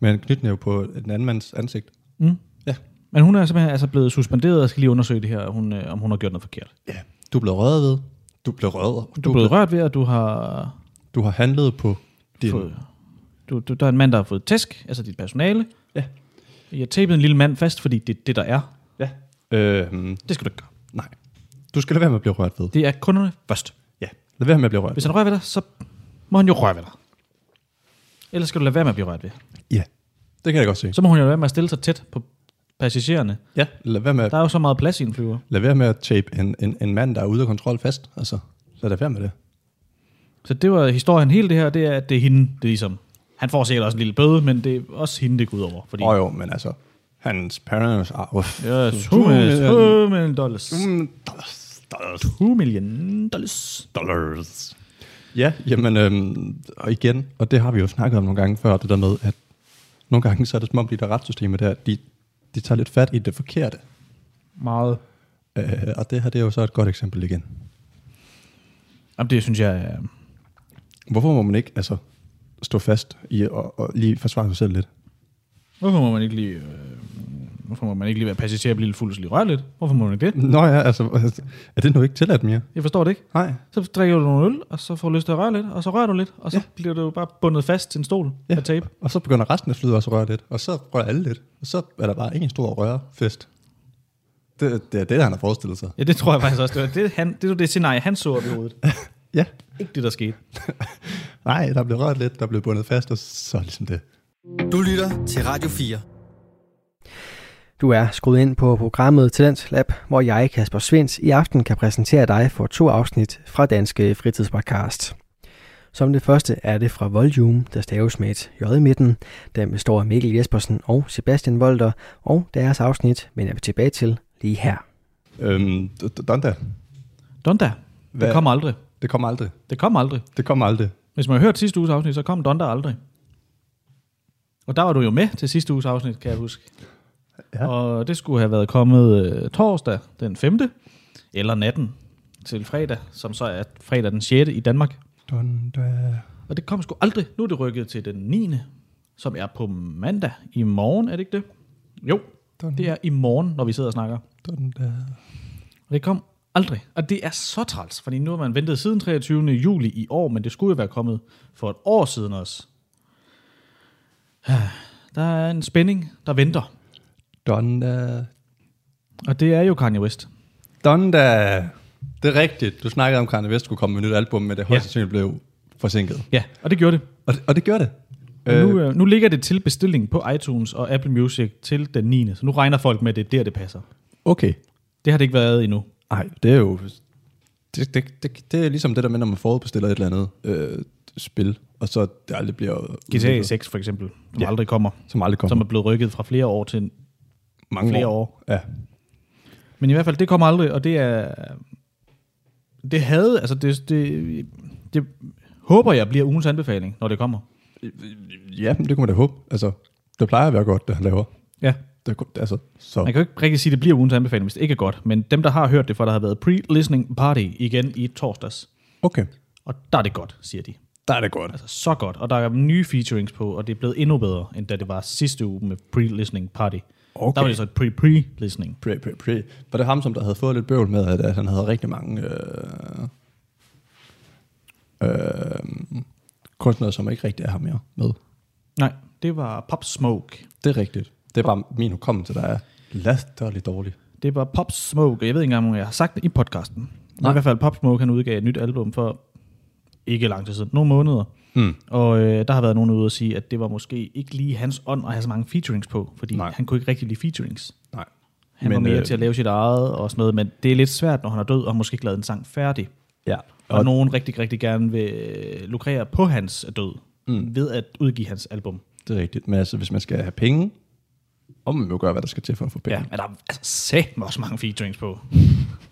C: med en knytnæve på en anden mands ansigt.
D: Mm.
C: Ja.
D: Men hun er simpelthen altså blevet suspenderet, og skal lige undersøge det her, hun, øh, om hun har gjort noget forkert.
C: Ja. Du er blevet røget ved. Du blev røget.
D: Du er blevet rørt ved, at du har
C: Du har handlet på din...
D: fået... Du, du, der er en mand, der har fået tæsk, altså dit personale.
C: Ja.
D: Jeg har tapet en lille mand fast, fordi det er det, der er.
C: Ja. Øh,
D: Det skal du ikke gøre.
C: nej. Du skal lade være med at blive rørt ved.
D: Det er kunderne først.
C: Ja. Lad være med at blive rørt
D: Hvis han rører ved dig, så må han jo røre ved dig. Ellers skal du lade være med at blive rørt ved.
C: Ja. Det kan jeg godt se.
D: Så må hun jo lade være med at stille sig tæt på passagererne.
C: Ja. Lad være med at
D: Der er jo så meget plads i en flyver.
C: Lad være med at tape en, en, en mand, der er ude af kontrol fast. Altså, lad da være med det.
D: Så det var historien hele det her, det er, at det er hende, det er ligesom... Han får sikkert også en lille bøde, men det er også hende, det går ud over. Fordi
C: Åh oh, jo, men altså, hans parents are... Uff.
D: Ja, 2 million, million dollars.
C: Mm, dollars, dollars,
D: 2 million dollars.
C: dollars. Ja, jamen, øhm, og igen, og det har vi jo snakket om nogle gange før, det der med, at nogle gange så er det som om, de der retssystemer der, de, de tager lidt fat i det forkerte.
D: Meget.
C: Øh, og det her, det er jo så et godt eksempel igen.
D: Jamen, det synes jeg øh, er...
C: Hvorfor må man ikke, altså, stå fast i at og, og lige forsvare sig selv lidt?
D: Hvorfor må man ikke lige... Øh, hvorfor må man ikke lige være passager og blive lidt fuld og så lige røre lidt? Hvorfor må man ikke det?
C: Nå ja, altså, er det nu ikke tilladt mere?
D: Jeg forstår det ikke.
C: Nej.
D: Så drikker du nogle øl, og så får du lyst til at røre lidt, og så rører du lidt, og så ja. bliver du jo bare bundet fast til en stol ja. af tape.
C: Og så begynder resten af flyet også at røre lidt, og så rører alle lidt, og så er der bare en stor rørefest. Det, det er det, han har forestillet sig.
D: Ja, det tror jeg faktisk også. Det var det, han, det, var det scenarie, han så op i hovedet.
C: Ja,
D: Ikke det, der skete.
C: nej, der blev rørt lidt, der blev bundet fast, og så er ligesom det.
A: Du lytter til Radio 4.
B: Du er skruet ind på programmet Talent Lab, hvor jeg, Kasper Svens, i aften kan præsentere dig for to afsnit fra Danske Fritidspodcast. Som det første er det fra Volume, der staves med et J i midten. Den består af Mikkel Jespersen og Sebastian Volter, og deres afsnit vender vi tilbage til lige her.
C: Øhm, d- d- Donda,
D: Donda.
C: Hvad?
D: Det kommer aldrig.
C: det kommer aldrig.
D: Det kommer aldrig.
C: Det kommer aldrig.
D: Hvis man har hørt sidste uges afsnit, så kom Donda aldrig. Og der var du jo med til sidste uges afsnit, kan jeg huske.
C: Ja.
D: Og det skulle have været kommet øh, torsdag den 5. eller natten til fredag, som så er fredag den 6. i Danmark.
C: Donda.
D: Og det kom sgu aldrig. Nu er det rykket til den 9. som er på mandag i morgen, er det ikke det? Jo,
C: Donda.
D: det er i morgen, når vi sidder og snakker.
C: Donda.
D: Og det kom aldrig. Og det er så træls, fordi nu har man ventet siden 23. juli i år, men det skulle jo være kommet for et år siden også. Der er en spænding, der venter.
C: Donda.
D: Og det er jo Kanye West.
C: Donda. Det er rigtigt. Du snakkede om, at Kanye West skulle komme med et nyt album, men det højst
D: Ja.
C: sandsynligt blev forsinket.
D: Ja, og det gjorde det.
C: Og, det- og det gør det.
D: Og nu, øh, nu ligger det til bestilling på iTunes og Apple Music til den 9. Så nu regner folk med, at det er der, det passer.
C: Okay.
D: Det har det ikke været endnu.
C: Nej, det er jo... Det, det, det, det er ligesom det der med, når man forudbestiller et eller andet øh, spil, og så det aldrig bliver...
D: GTA
C: udviklet,
D: 6 for eksempel, som
C: Ja.
D: ja. aldrig kommer,
C: Som aldrig kommer.
D: som er blevet rykket fra flere år til...
C: mange
D: flere år.
C: Ja.
D: Men i hvert fald, det kommer aldrig, og det er... Det havde, altså det, det, det håber jeg bliver ugens anbefaling, når det kommer.
C: ja, men det kunne man da håbe. Altså, det plejer at være godt, det han laver.
D: Ja.
C: Det, kunne- altså, så...
D: Man kan jo ikke rigtig sige, at det bliver ugens anbefaling, hvis det ikke er godt. Men dem, der har hørt det, for der har været pre-listening party igen i torsdags.
C: Okay,
D: Og der er det godt, siger de.
C: der er det godt.
D: Altså så godt. Og der er nye featurings på, og det er blevet endnu bedre, end da det var sidste uge med pre-listening party.
C: Okay.
D: Der var det så et pre-pre-listening.
C: Pre, pre, pre. Var det ham, som der havde fået lidt bøvl med, at, at han havde rigtig mange øh, øh, kunstnere, som ikke rigtig er her mere med.
D: Nej, det var Pop Smoke.
C: Det er rigtigt. Det er bare min hukommelse, der er latterligt dårlig.
D: Det var Pop Smoke, og jeg ved ikke engang, om jeg har sagt det i podcasten. Men i hvert fald Pop Smoke, han udgav et nyt album for ikke lang tid siden, nogle måneder. Mm. Og øh, der har været nogen ude at sige, at det var måske ikke lige hans ånd at have så mange featurings på, fordi
C: Nej.
D: Nej. han kunne ikke rigtig lide featurings.
C: Nej.
D: Han men, var mere øh, til at lave sit eget og sådan noget, men det er lidt svært, når han er død, og har måske ikke lavet en sang færdig.
C: Ja.
D: Og, og nogen rigtig, rigtig gerne vil øh, lukrere på hans død, mm. ved at udgive hans album.
C: Det er rigtigt. Men altså, hvis man skal have penge, og man må gøre, hvad der skal til for at få penge.
D: Ja, men der er altså, sæt også mange featurings på.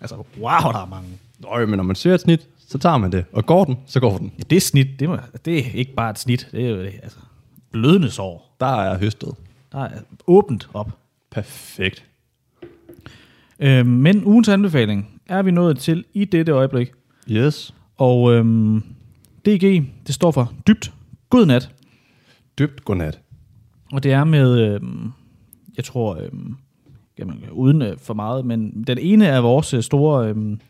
D: altså, wow, der er mange.
C: Nøj, men når man ser et snit, så tager man det. Og går den, så går den.
D: Ja, det snit, det, må, det er ikke bare et snit, det er jo altså, blødende sår.
C: Der er høstet.
D: Der er åbent op.
C: Perfekt.
D: Øh, men ugens anbefaling er vi nået til i dette øjeblik.
C: Yes.
D: Og øhm, DG, det står for dybt godnat.
C: Dybt godnat.
D: Og det er med, øhm, jeg tror, øhm, jamen, uden øh, for meget, men den ene af vores øh, store øhm,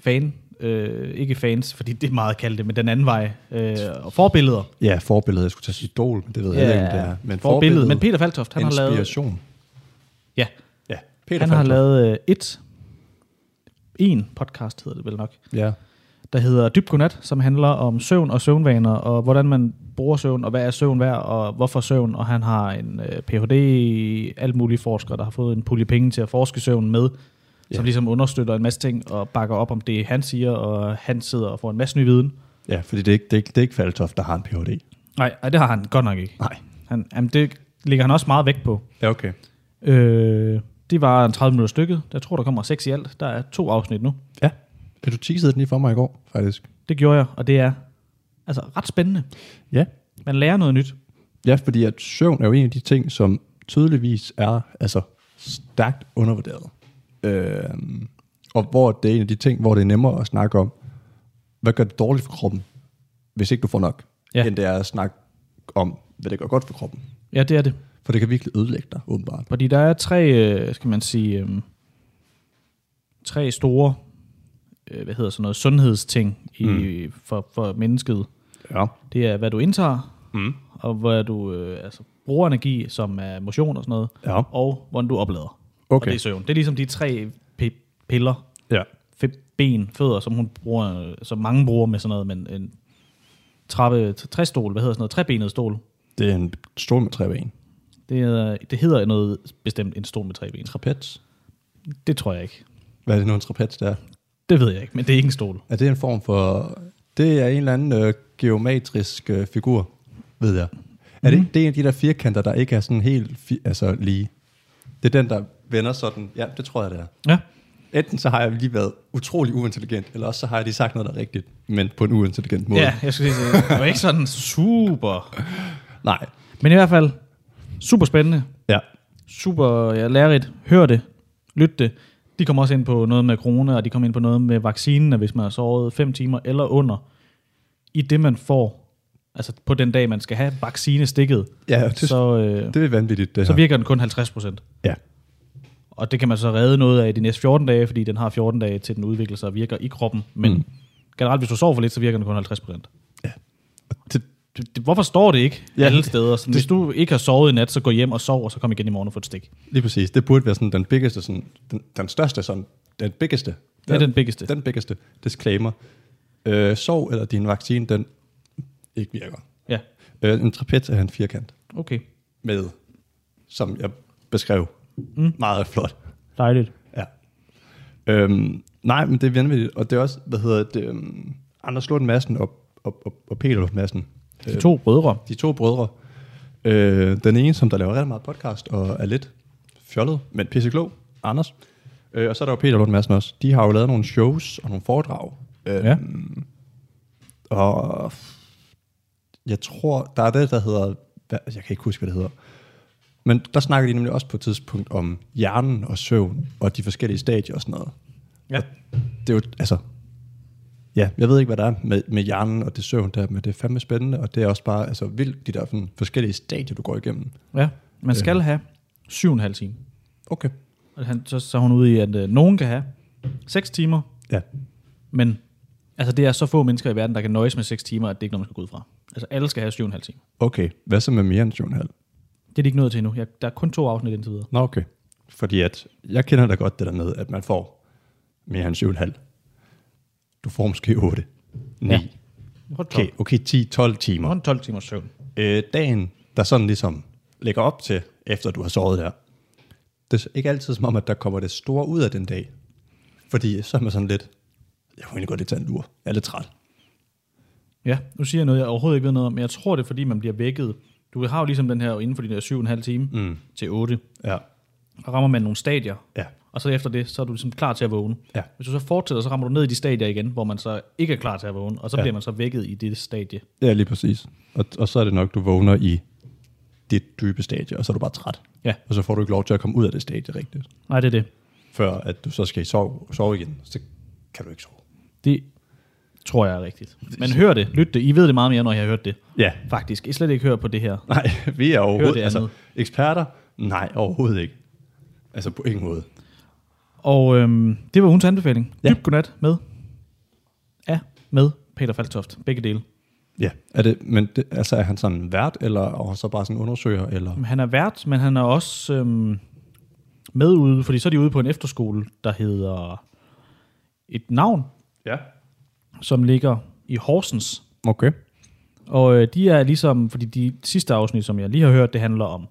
D: fan, øh, ikke fans, fordi det er meget kaldt det, men den anden vej, øh, og forbilleder.
C: Ja, forbillede. Jeg skulle tage sit idol, men det ved jeg ikke, om det er. Men forbillede.
D: Men Peter Faltoft, han har lavet,
C: Inspiration.
D: ja,
C: Ja, Peter
D: han har
C: Falk.
D: lavet øh, et, en podcast hedder det vel nok,
C: Ja.
D: der hedder Dybt Godnat, som handler om søvn og søvnvaner, og hvordan man bruger søvn, og hvad er søvn værd, og hvorfor søvn, og han har en øh, Ph.D. i alt mulige forskere, der har fået en pulje penge til at forske søvn med, yeah. som ligesom understøtter en masse ting, og bakker op om det, han siger, og han sidder og får en masse ny viden.
C: ja, fordi det er, ikke, det, er ikke, det er ikke Faltoft, der har en Ph.D.
D: Nej, ej, det har han godt nok ikke.
C: Nej.
D: Han, jamen, det ligger han også meget vægt på.
C: Ja, okay.
D: Øh, det var en 30 minutter stykket. Jeg tror, der kommer seks i alt. Der er to afsnit nu.
C: Ja. Kan du teasede den lige for mig i går, faktisk?
D: Det gjorde jeg, og det er altså ret spændende.
C: Ja.
D: Man lærer noget nyt.
C: Ja, fordi at søvn er jo en af de ting, som tydeligvis er altså, stærkt undervurderet. Øh, og hvor det er en af de ting, hvor det er nemmere at snakke om, hvad gør det dårligt for kroppen, hvis ikke du får nok,
D: Ja.
C: ja. end det er at snakke om, hvad det gør godt for kroppen.
D: Ja, det er det.
C: For det kan virkelig ødelægge dig, åbenbart.
D: Fordi der er tre, øh, skal man sige, øh, tre store, øh, hvad hedder sådan noget, sundhedsting i, mm. for, for mennesket.
C: Ja.
D: Det er, hvad du indtager, mm. og hvad du øh, altså, bruger energi, som er motion og sådan noget,
C: Ja.
D: og hvordan du oplader. Og
C: Okay.
D: det er søvn. Det er ligesom de tre p- piller,
C: Ja.
D: fem ben, fødder, som hun bruger, øh, som mange bruger med sådan noget, men en trappe, træstol, hvad hedder sådan noget, trebenet stol.
C: Det er en stol med tre ben.
D: Det, er, det hedder noget bestemt en stol med tre ben.
C: Trapez.
D: Det tror jeg ikke.
C: Hvad er det nu, en trapez der?
D: Det ved jeg ikke, men det er ikke en stol.
C: Er det en form for... Det er en eller anden øh, geometrisk øh, figur, ved jeg. Er
D: Mm.
C: det, ikke, det er en af de der firkanter, der ikke er sådan helt fi, altså lige. Det er den, der vender sådan. Ja, det tror jeg, det er.
D: Ja.
C: Enten så har jeg lige været utrolig uintelligent, eller også så har jeg lige sagt noget, der er rigtigt, men på en uintelligent måde.
D: Ja, jeg skulle sige, det var ikke sådan super.
C: Nej.
D: Men i hvert fald, super spændende,
C: Ja.
D: super ja, lærerigt. Hør det, lyt det. De kommer også ind på noget med corona, og de kommer ind på noget med vaccinen, og hvis man har sovet 5 timer eller under, i det man får, altså på den dag, man skal have vaccinestikket,
C: Ja, det, så,
D: så, øh,
C: det er vanvittigt, det
D: så
C: her.
D: virker den kun 50 procent.
C: ja.
D: Og det kan man så redde noget af de næste 14 dage, fordi den har 14 dage til den udvikler sig og virker i kroppen. Men mm. generelt, hvis du sover for lidt, så virker den kun 50 procent.
C: Det,
D: det, det, hvorfor står det ikke ja,
C: Ja,
D: alle
C: det-
D: steder? Sådan, hvis du ikke har sovet i nat, så gå hjem og sov, og så kom igen i morgen og få et stik.
C: lige præcis. Det burde være sådan den biggeste, sådan, den, den største, sådan, den biggeste.
D: Det er den biggeste. Den.
C: Den biggeste disclaimer. Øh, sov, eller din vaccine, den ikke virker.
D: Ja,
C: Øh, en trapez er en firkant
D: okay.
C: med, som jeg beskrev. Mm. Meget flot.
D: Dejligt.
C: Ja. Øhm, nej, men det er vanvittigt. Og det er også, hvad hedder det, øhm, Anders Lund Madsen og, og, og, og Peter Lund Madsen.
D: De to brødre.
C: De to brødre. Øh, den ene, som der laver rigtig meget podcast og er lidt fjollet, men pisseklog, Anders. Øh, og så er der jo Peter Lund Madsen også. De har jo lavet nogle shows og nogle foredrag. Øh,
D: Ja.
C: Og jeg tror, der er det, der hedder, hvad- altså, jeg kan ikke huske, hvad det hedder, men der snakker de nemlig også på et tidspunkt om hjernen og søvn og de forskellige stadier og sådan noget.
D: Ja.
C: Det er jo, altså, ja, jeg ved ikke, hvad der er med, med hjernen og det søvn der, men det er fandme spændende, og det er også bare altså, vildt, de der sådan, forskellige stadier, du går igennem.
D: ja. Man skal have syv og en halv time.
C: Okay.
D: Og han, så, så er hun ude i, at øh, nogen kan have 6 timer,
C: Ja,
D: men Altså, det er så få mennesker i verden, der kan nøjes med 6 timer, at det ikke er noget, man skal gå ud fra. Altså, alle skal have 7,5 timer.
C: Okay, hvad så med mere end 7,5?
D: Det er de ikke nået til endnu. Jeg, der er kun to afsnit indtil videre.
C: Nå, okay. Fordi at, jeg kender da godt det der med, at man får mere end 7,5. Du får måske 8, 9, ja.
D: Hold 12,
C: okay, okay 10, 12 timer.
D: okay. 12 timers søvn.
C: Øh, dagen, der sådan ligesom lægger op til, efter du har sovet der, det er ikke altid som om, at der kommer det store ud af den dag. Fordi så er man sådan lidt, jeg kunne egentlig godt lige tage en lur. Jeg er lidt træt.
D: Ja, nu siger jeg noget, jeg overhovedet ikke ved noget om, men jeg tror, det er, fordi man bliver vækket. Du har jo ligesom den her inden for de der 7,5 time mm. til 8.
C: Ja,
D: Der rammer man nogle stadier,
C: ja,
D: og så efter det, så er du ligesom klar til at vågne.
C: Ja.
D: Hvis du så fortsætter, så rammer du ned i de stadier igen, hvor man så ikke er klar til at vågne, og så ja. bliver man så vækket i det stadie.
C: ja lige præcis. Og, og så er det nok, du vågner i dit dybe stadie, og så er du bare træt.
D: Ja.
C: Og så får du ikke lov til at komme ud af det stadie rigtigt.
D: Nej, det er det.
C: før at du så skal sove, sove igen, så kan du ikke sove.
D: Det tror jeg er rigtigt. Men hør det, lyt det. I ved det meget mere, når jeg har hørt det.
C: Ja.
D: Faktisk. I slet ikke hører på det her.
C: Nej, vi er
D: Hør det
C: overhovedet... Altså,
D: andet.
C: eksperter? Nej, overhovedet ikke. Altså på ingen måde.
D: Og øhm, det var ugens anbefaling. Ja.
C: Ja.
D: Dyb godnat med. Ja, med Peter Faltoft. Begge dele.
C: Ja. Er det, men det, altså er han sådan vært, eller er han så bare sådan undersøger, eller...
D: Jamen, Han er vært, men han er også øhm, med ude, fordi så er de ude på en efterskole, der hedder et navn,
C: Ja.
D: som ligger i Horsens.
C: Okay.
D: Og øh, de er ligesom, fordi de sidste afsnit, som jeg lige har hørt, det handler om,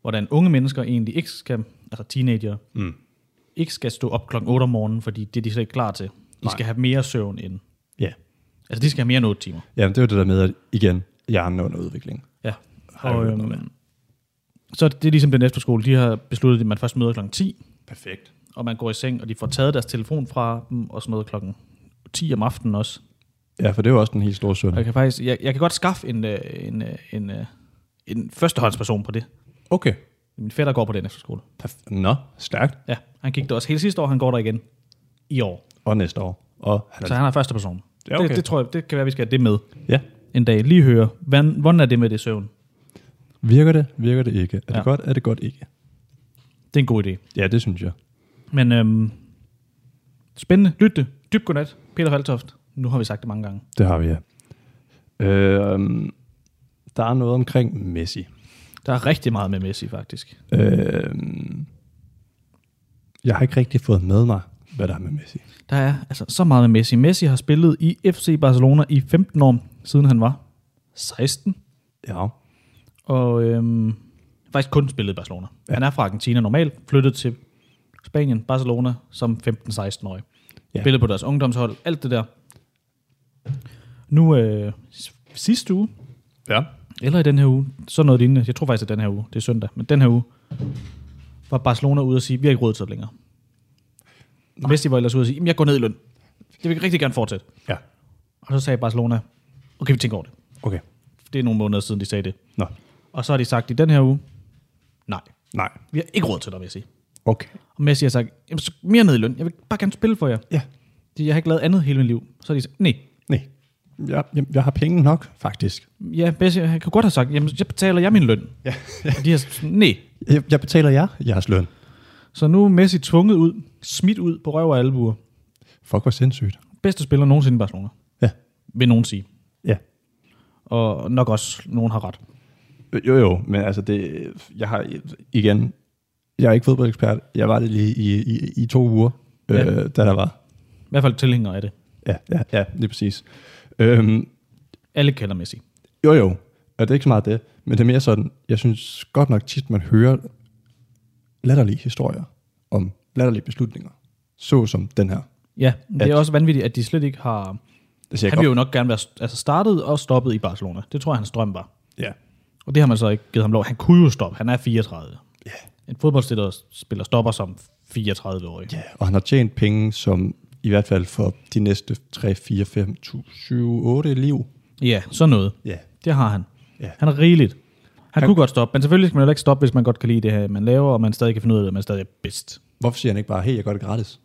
D: hvordan unge mennesker egentlig ikke skal, altså teenager,
C: Mm.
D: ikke skal stå op klokken 8 om morgenen, fordi det er de slet ikke klar til. De Nej. skal have mere søvn end,
C: Ja.
D: altså de skal have mere end 8 timer.
C: Jamen, det er jo det der med, at igen, hjernen er under udvikling.
D: Ja.
C: jeg
D: Og,
C: hørt noget
D: øhm, så det er ligesom den efterskole, de har besluttet, at man først møder klokken 10,
C: Perfekt.
D: og man går i seng, og de får taget deres telefon fra dem, og sådan noget klokken 10 om aftenen også.
C: Ja, for det er jo også den helt store søn.
D: Og jeg kan faktisk, jeg, jeg kan godt skaffe en, øh, en, øh, en, øh, en førstehåndsperson på det.
C: Okay.
D: Min fætter går på den efterskole.
C: Perf- Nå, stærkt.
D: Ja, han gik der også hele sidste år, han går der igen i år.
C: Og næste år. Og han er,
D: Så han er første person.
C: Ja, okay.
D: det, det, tror jeg, det kan være, vi skal have det med
C: ja.
D: en dag. Lige høre, hvordan, hvordan er det med det søvn?
C: Virker det? Virker det ikke? Er ja.
D: Ja.
C: det godt? Er det godt ikke?
D: Det er en god idé.
C: Ja, det synes jeg.
D: Men øhm, spændende. Lyt det. Dyb godnat. Peter Faltoft. Nu har vi sagt det mange gange.
C: Det har vi, ja. Øh, der er noget omkring Messi.
D: Der er rigtig meget med Messi, faktisk.
C: Øh, jeg har ikke rigtig fået med mig, hvad der er med Messi.
D: Der er altså så meget med Messi. Messi har spillet i FC Barcelona i 15 år, siden han var 16.
C: Ja.
D: Og øhm, faktisk kun spillet i Barcelona. Ja. Han er fra Argentina normalt, flyttet til Spanien, Barcelona, som 15-16-årig. Ja.
C: Ja.
D: Spillet på deres ungdomshold, alt det der. Nu øh, s- sidste uge,
C: Ja.
D: Eller i den her uge. Sådan noget lignende. Jeg tror faktisk, at den her uge. Det er søndag. Men den her uge var Barcelona ude og sige, vi har ikke råd til det længere. Nej. Messi var ellers ude og sige, "Jamen, jeg går ned i løn. Det vil jeg rigtig gerne fortsætte.
C: Ja.
D: Og så sagde Barcelona, okay, vi tænker over det.
C: Okay.
D: Det er nogle måneder siden, de sagde det.
C: Nå.
D: Og så har de sagt i den her uge, nej,
C: Nej.
D: vi har ikke råd til dig, Messi.
C: Okay.
D: Og Messi har sagt, Jamen, så mere ned i løn. Jeg vil bare gerne spille for jer.
C: Ja.
D: De- Jeg har ikke lavet andet hele mit liv. Så har de sagt, nej.
C: Nej. Jeg, jeg, jeg har penge nok, faktisk.
D: Ja, Messi, han kunne godt have sagt, jamen, jeg betaler jeg min løn. Ja. Og de har sagt, nej.
C: Jeg, jeg betaler jer jeres løn.
D: Så nu er Messi tvunget ud, smidt ud på røv og albuer.
C: Fuck, hvor sindssygt.
D: Bedste spiller nogensinde i Barcelona,
C: Ja.
D: vil nogen sige.
C: Ja.
D: Og nok også, nogen har ret.
C: Jo, jo, men altså det... Jeg har... Igen, jeg er ikke fodboldekspert. Jeg var det lige i, i, i to uger,
D: Ja.
C: øh, da der var.
D: I hvert fald tilhængere af det.
C: Ja, ja, ja, lige præcis. Øhm,
D: Alle kender Messi.
C: Jo, jo. Og det er ikke så meget det. Men det er mere sådan, jeg synes godt nok tit, man hører latterlige historier om latterlige beslutninger. Så som den her.
D: Ja, det er
C: At-
D: også vanvittigt, at de slet ikke har...
C: Det ser
D: Han ville jo nok gerne være altså startet og stoppet i Barcelona. Det tror jeg, hans drøm var.
C: Ja.
D: Og det har man så ikke givet ham lov. Han kunne jo stoppe. Han er 34.
C: Ja.
D: En fodboldspiller spiller stopper som 34-årig.
C: ja. Og han har tjent penge, som i hvert fald for de næste 3, 4, 5, 7, 8 liv.
D: ja, sådan noget.
C: Ja.
D: Det har han.
C: Ja.
D: Han er rigeligt. Han, han kunne godt stoppe, men selvfølgelig skal man heller ikke stoppe, hvis man godt kan lide det her, man laver, og man stadig kan finde ud af det, og man stadig er bedst.
C: Hvorfor siger han ikke bare, hey, jeg gør det gratis?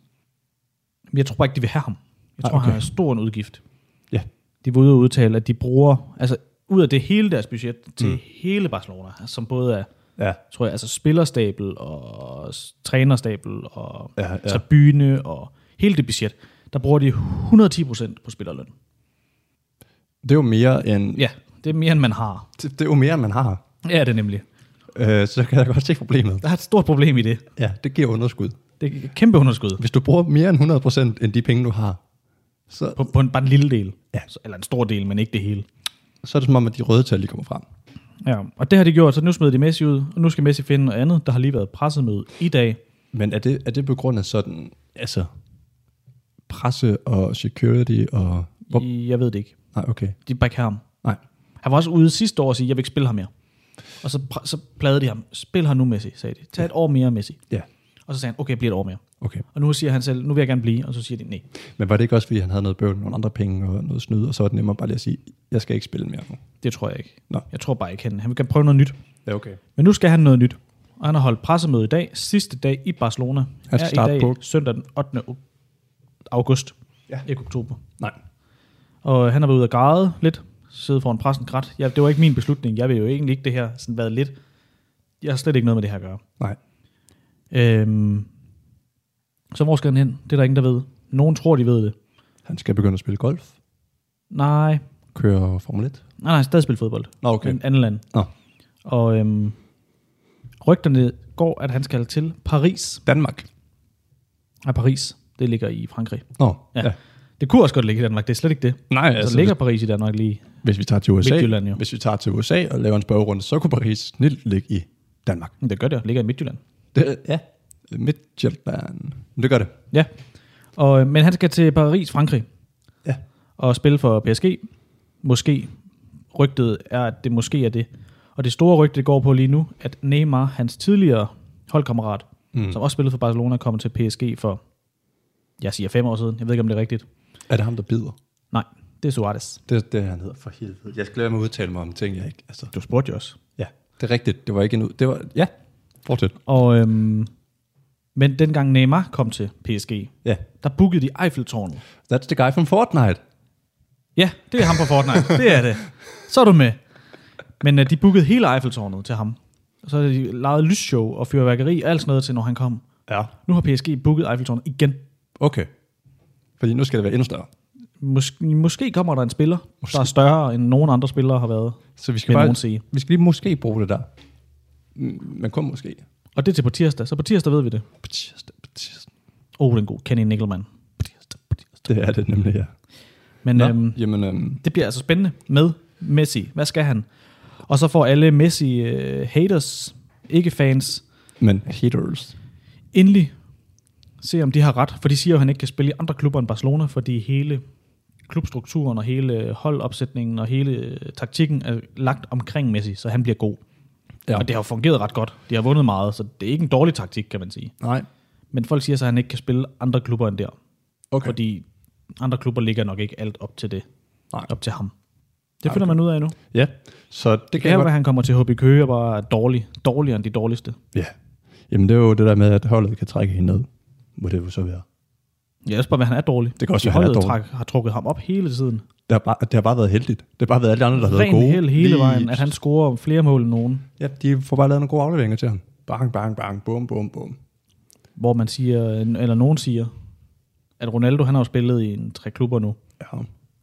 D: Men Jeg tror bare ikke, de vil have ham. Jeg
C: Nej,
D: tror, okay. han
C: okay.
D: er stor en udgift.
C: Ja.
D: De var ude og udtale, at de bruger, altså ud af det hele deres budget til mm. hele Barcelona, som både er,
C: Ja.
D: tror jeg, altså spillerstabel og s- trænerstabel og
C: Ja, ja.
D: tribune og hele det budget. Der der bruger de 110% på spillerløn.
C: Det er jo mere end,
D: Ja, det er mere, end man har.
C: det, det er jo mere, end man har.
D: Ja, det er nemlig.
C: Øh, så kan jeg godt se problemet.
D: Der er et stort problem i det.
C: Ja, det giver underskud.
D: Det er et kæmpe underskud
C: Hvis du bruger mere end 100% end de penge, du har, så,
D: på, på en, bare en lille del.
C: Ja.
D: Så- Eller en stor del, men ikke det hele.
C: så er det som om, at de røde tal de kommer frem.
D: Ja, og det har de gjort, så nu smed de Messi ud, og nu skal Messi finde noget andet. Der har lige været pressemøde i dag.
C: Men er det, er det på grund af sådan, altså, presse og security og... Hvor,
D: Jeg ved det ikke.
C: nej, okay.
D: De back ham.
C: Nej.
D: Han var også ude sidste år og sige, jeg vil ikke spille ham mere. Og så, pr- så plagede de ham. Spil ham nu, Messi, sagde de. Tag et år mere, Messi.
C: Ja,
D: Og så sagde han, okay, jeg bliver et år mere.
C: okay.
D: Og nu siger han selv, nu vil jeg gerne blive. Og så siger de, nej.
C: Men var det ikke også, fordi han havde noget bøvl, nogle andre penge og noget snyd, og så var det nemmere bare lige at sige, jeg skal ikke spille mere nu.
D: Det tror jeg ikke.
C: Nå.
D: Jeg tror bare ikke, han, han vil gerne prøve noget nyt.
C: Ja, okay.
D: Men nu skal han noget nyt. Og han har holdt pressemøde i dag, sidste dag i Barcelona.
C: Han skal
D: er
C: starte
D: i dag,
C: på-
D: søndag den 8. o- august.
C: Ja.
D: Ikke oktober.
C: Nej.
D: Og han har været ude og græde lidt, siddet foran pressen grædt. Ja, det var ikke min beslutning. Jeg vil jo egentlig ikke det her sådan været lidt. Jeg har slet ikke noget med det her at gøre.
C: Nej.
D: Øhm, så hvor skal han hen? Det er der ingen, der ved. Nogen tror, de ved det.
C: Han skal begynde at spille golf,
D: Nej,
C: køre Formel 1.
D: nej, nej stadig spille fodbold.
C: Nå, okay.
D: Men andet land.
C: Nå.
D: Og øhm, rygterne går, at han skal til Paris.
C: Danmark.
D: Ja, Paris, det ligger i Frankrig.
C: Nå,
D: Ja. Det kunne også godt ligge i Danmark, det er slet ikke det.
C: Nej,
D: Ja,
C: altså,
D: så ligger Paris i Danmark lige.
C: hvis, hvis, vi tager til USA,
D: Midtjylland, jo.
C: hvis vi tager til USA og laver en spørgerunde, så kunne Paris snilt ligge i Danmark.
D: Men Det gør det, ligger i Midtjylland.
C: Det, Øh, ja. Midtjylland. Men Det gør det.
D: Ja. Og, øh, men han skal til Paris, Frankrig.
C: Ja.
D: Og spille for PSG. Måske. Rygtet er, at det måske er det. Og det store rygte det går på lige nu, at Neymar, hans tidligere holdkammerat, mm. som også spillede for Barcelona, kommer til PSG for, jeg siger fem år siden. Jeg ved ikke, om det er rigtigt.
C: Er det ham, der bider?
D: Nej, det er Suarez.
C: Det er det, han hedder for helvede. Jeg skal lade mig udtale mig om ting, jeg ikke... Altså,
D: Du spurgte jo også.
C: ja, det er rigtigt. Det var ikke en ud... Det var... Ja, fortsæt.
D: Og, øhm, men dengang Neymar kom til PSG,
C: Ja.
D: der bookede de Eiffeltårnet.
C: That's the guy from Fortnite.
D: Ja, det er ham fra Fortnite. det er det. Så er du med. Men øh, de bookede hele Eiffeltårnet til ham. Og så havde de lavet lysshow og fyrværkeri og alt sådan noget til, når han kom.
C: Ja.
D: Nu har PSG booket Eiffeltårnet igen.
C: Okay. Fordi nu skal det være endnu større.
D: Mås- måske kommer der en spiller, måske. der er større end nogen andre spillere har været.
C: Så vi
D: Vil
C: skal, bare,
D: nogen sige.
C: vi skal lige måske bruge det der. Mm, Men kun måske.
D: Og det er til på tirsdag, så på tirsdag ved vi det.
C: På tirsdag, på tirsdag.
D: Åh, oh, den gode Kenny Nickelman.
C: Det er det nemlig, ja.
D: Men
C: Nå,
D: øhm,
C: jamen, øhm,
D: det bliver altså spændende med Messi. Hvad skal han? Og så får alle øh, Messi-haters, ikke-fans,
C: men haters.
D: endelig se, om de har ret. For de siger jo, at han ikke kan spille i andre klubber end Barcelona, fordi hele klubstrukturen og hele holdopsætningen og hele øh, taktikken er lagt omkring Messi, så han bliver god.
C: Ja.
D: Ja. Og det har jo fungeret ret godt. De har vundet meget, så det er ikke en dårlig taktik, kan man sige.
C: Nej.
D: Men folk siger så, at han ikke kan spille andre klubber end der.
C: Okay. Fordi...
D: Fordi andre klubber ligger nok ikke alt op til det.
C: Nej.
D: Op til ham. Det finder man ud af nu. Det
C: Ja, så det kan
D: kan
C: jeg
D: jo være, at
C: godt...
D: han kommer til HB Køge og bare er dårlig. Dårligere end de dårligste.
C: Ja. Jamen, det er jo det der med, at holdet kan trække hende ned. Må det jo så være.
D: Jeg også bare, at han er dårlig.
C: Det kan også være, han er
D: Holdet
C: dårlig.
D: trak- har trukket ham op hele tiden.
C: Det har, bare, det har bare været heldigt. Det har bare været alle de andre, der har været
D: ren
C: gode.
D: held hele
C: Lige-
D: vejen, at han scorer flere mål end nogen,
C: Ja, de får bare lavet nogle gode afleveringer til ham. Bang, bang, bang. Bum, bum, bum.
D: hvor man siger, eller nogen siger, at Ronaldo han har jo spillet i en tre klubber nu.
C: Ja.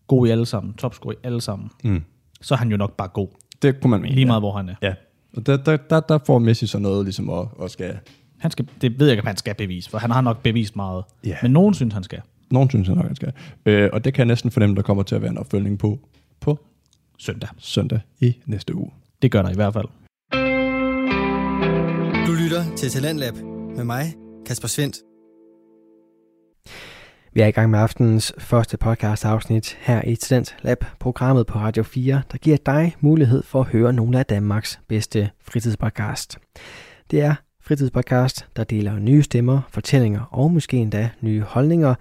D: God i alle sammen, topscorer i alle sammen.
C: Mm.
D: Så er han jo nok bare god,
C: Det kunne man mene.
D: lige meget hvor han er.
C: Ja. Og der, der, der, der får Messi så noget, ligesom at, at skal...
D: Han skal, det ved jeg ikke, om han skal bevise, for han har nok bevist meget.
C: Ja.
D: Men nogen synes, han skal.
C: Nogen synes jeg nok, han skal. Øh, og det kan jeg næsten fornemme, der kommer til at være en opfølgning på på
D: Søndag.
C: søndag i næste uge.
D: Det gør der i hvert fald.
A: Du lytter til Talentlab med mig, Kasper Svendt.
B: Vi er i gang med aftenens første podcast afsnit her i Talent Lab, programmet på Radio 4, der giver dig mulighed for at høre nogle af Danmarks bedste fritidspodcast. Det er fritidspodcast, der deler nye stemmer, fortællinger og måske endda nye holdninger.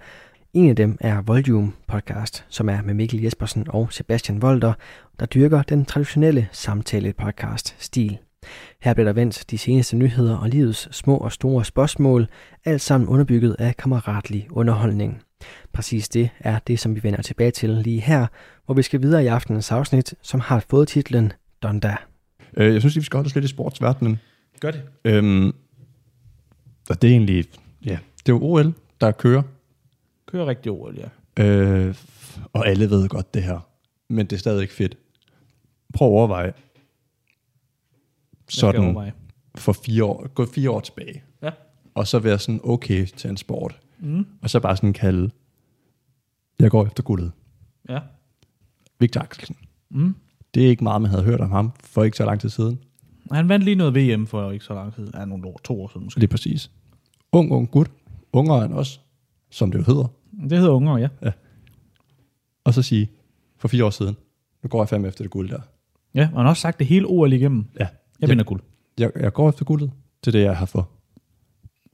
B: En af dem er Volume Podcast, som er med Mikkel Jespersen og Sebastian Volter, der dyrker den traditionelle samtale podcast stil. Her bliver der vendt de seneste nyheder og livets små og store spørgsmål, alt sammen underbygget af kammeratlig underholdning. Præcis det er det, som vi vender tilbage til lige her, hvor vi skal videre i aftenens afsnit, som har fået titlen Donda.
C: Øh, jeg synes lige, vi skal holde os lidt i sportsverdenen.
D: Gør det.
C: Øhm, og det er egentlig... Ja, det er jo OL, der kører.
D: Kører rigtig roligt, ja.
C: Øh, f- og alle ved godt det her, men det er stadig ikke fedt. Prøv at overveje
D: Jeg skal
C: sådan
D: overveje.
C: for fire år, gå fire år tilbage,
D: Ja.
C: og så være sådan okay til en sport, mm. og så bare sådan kalde, jeg går efter guldet.
D: Ja.
C: Victor Axelsen.
D: Mm.
C: Det er ikke meget, man havde hørt om ham for ikke så lang tid siden.
D: Og Han vandt lige noget VM for ikke så lang tid. Ja, nogle år, to år siden måske.
C: Lige præcis. Ung, ung gut. Ungere end os, som det jo hedder.
D: Det hedder Unger, ja.
C: Og så sige, for fire år siden, nu går jeg fandme efter det guld der.
D: Ja, og han har også sagt det hele ordet igennem.
C: Ja,
D: Jeg vinder guld.
C: jeg, jeg går efter guldet. Det er det, jeg har for.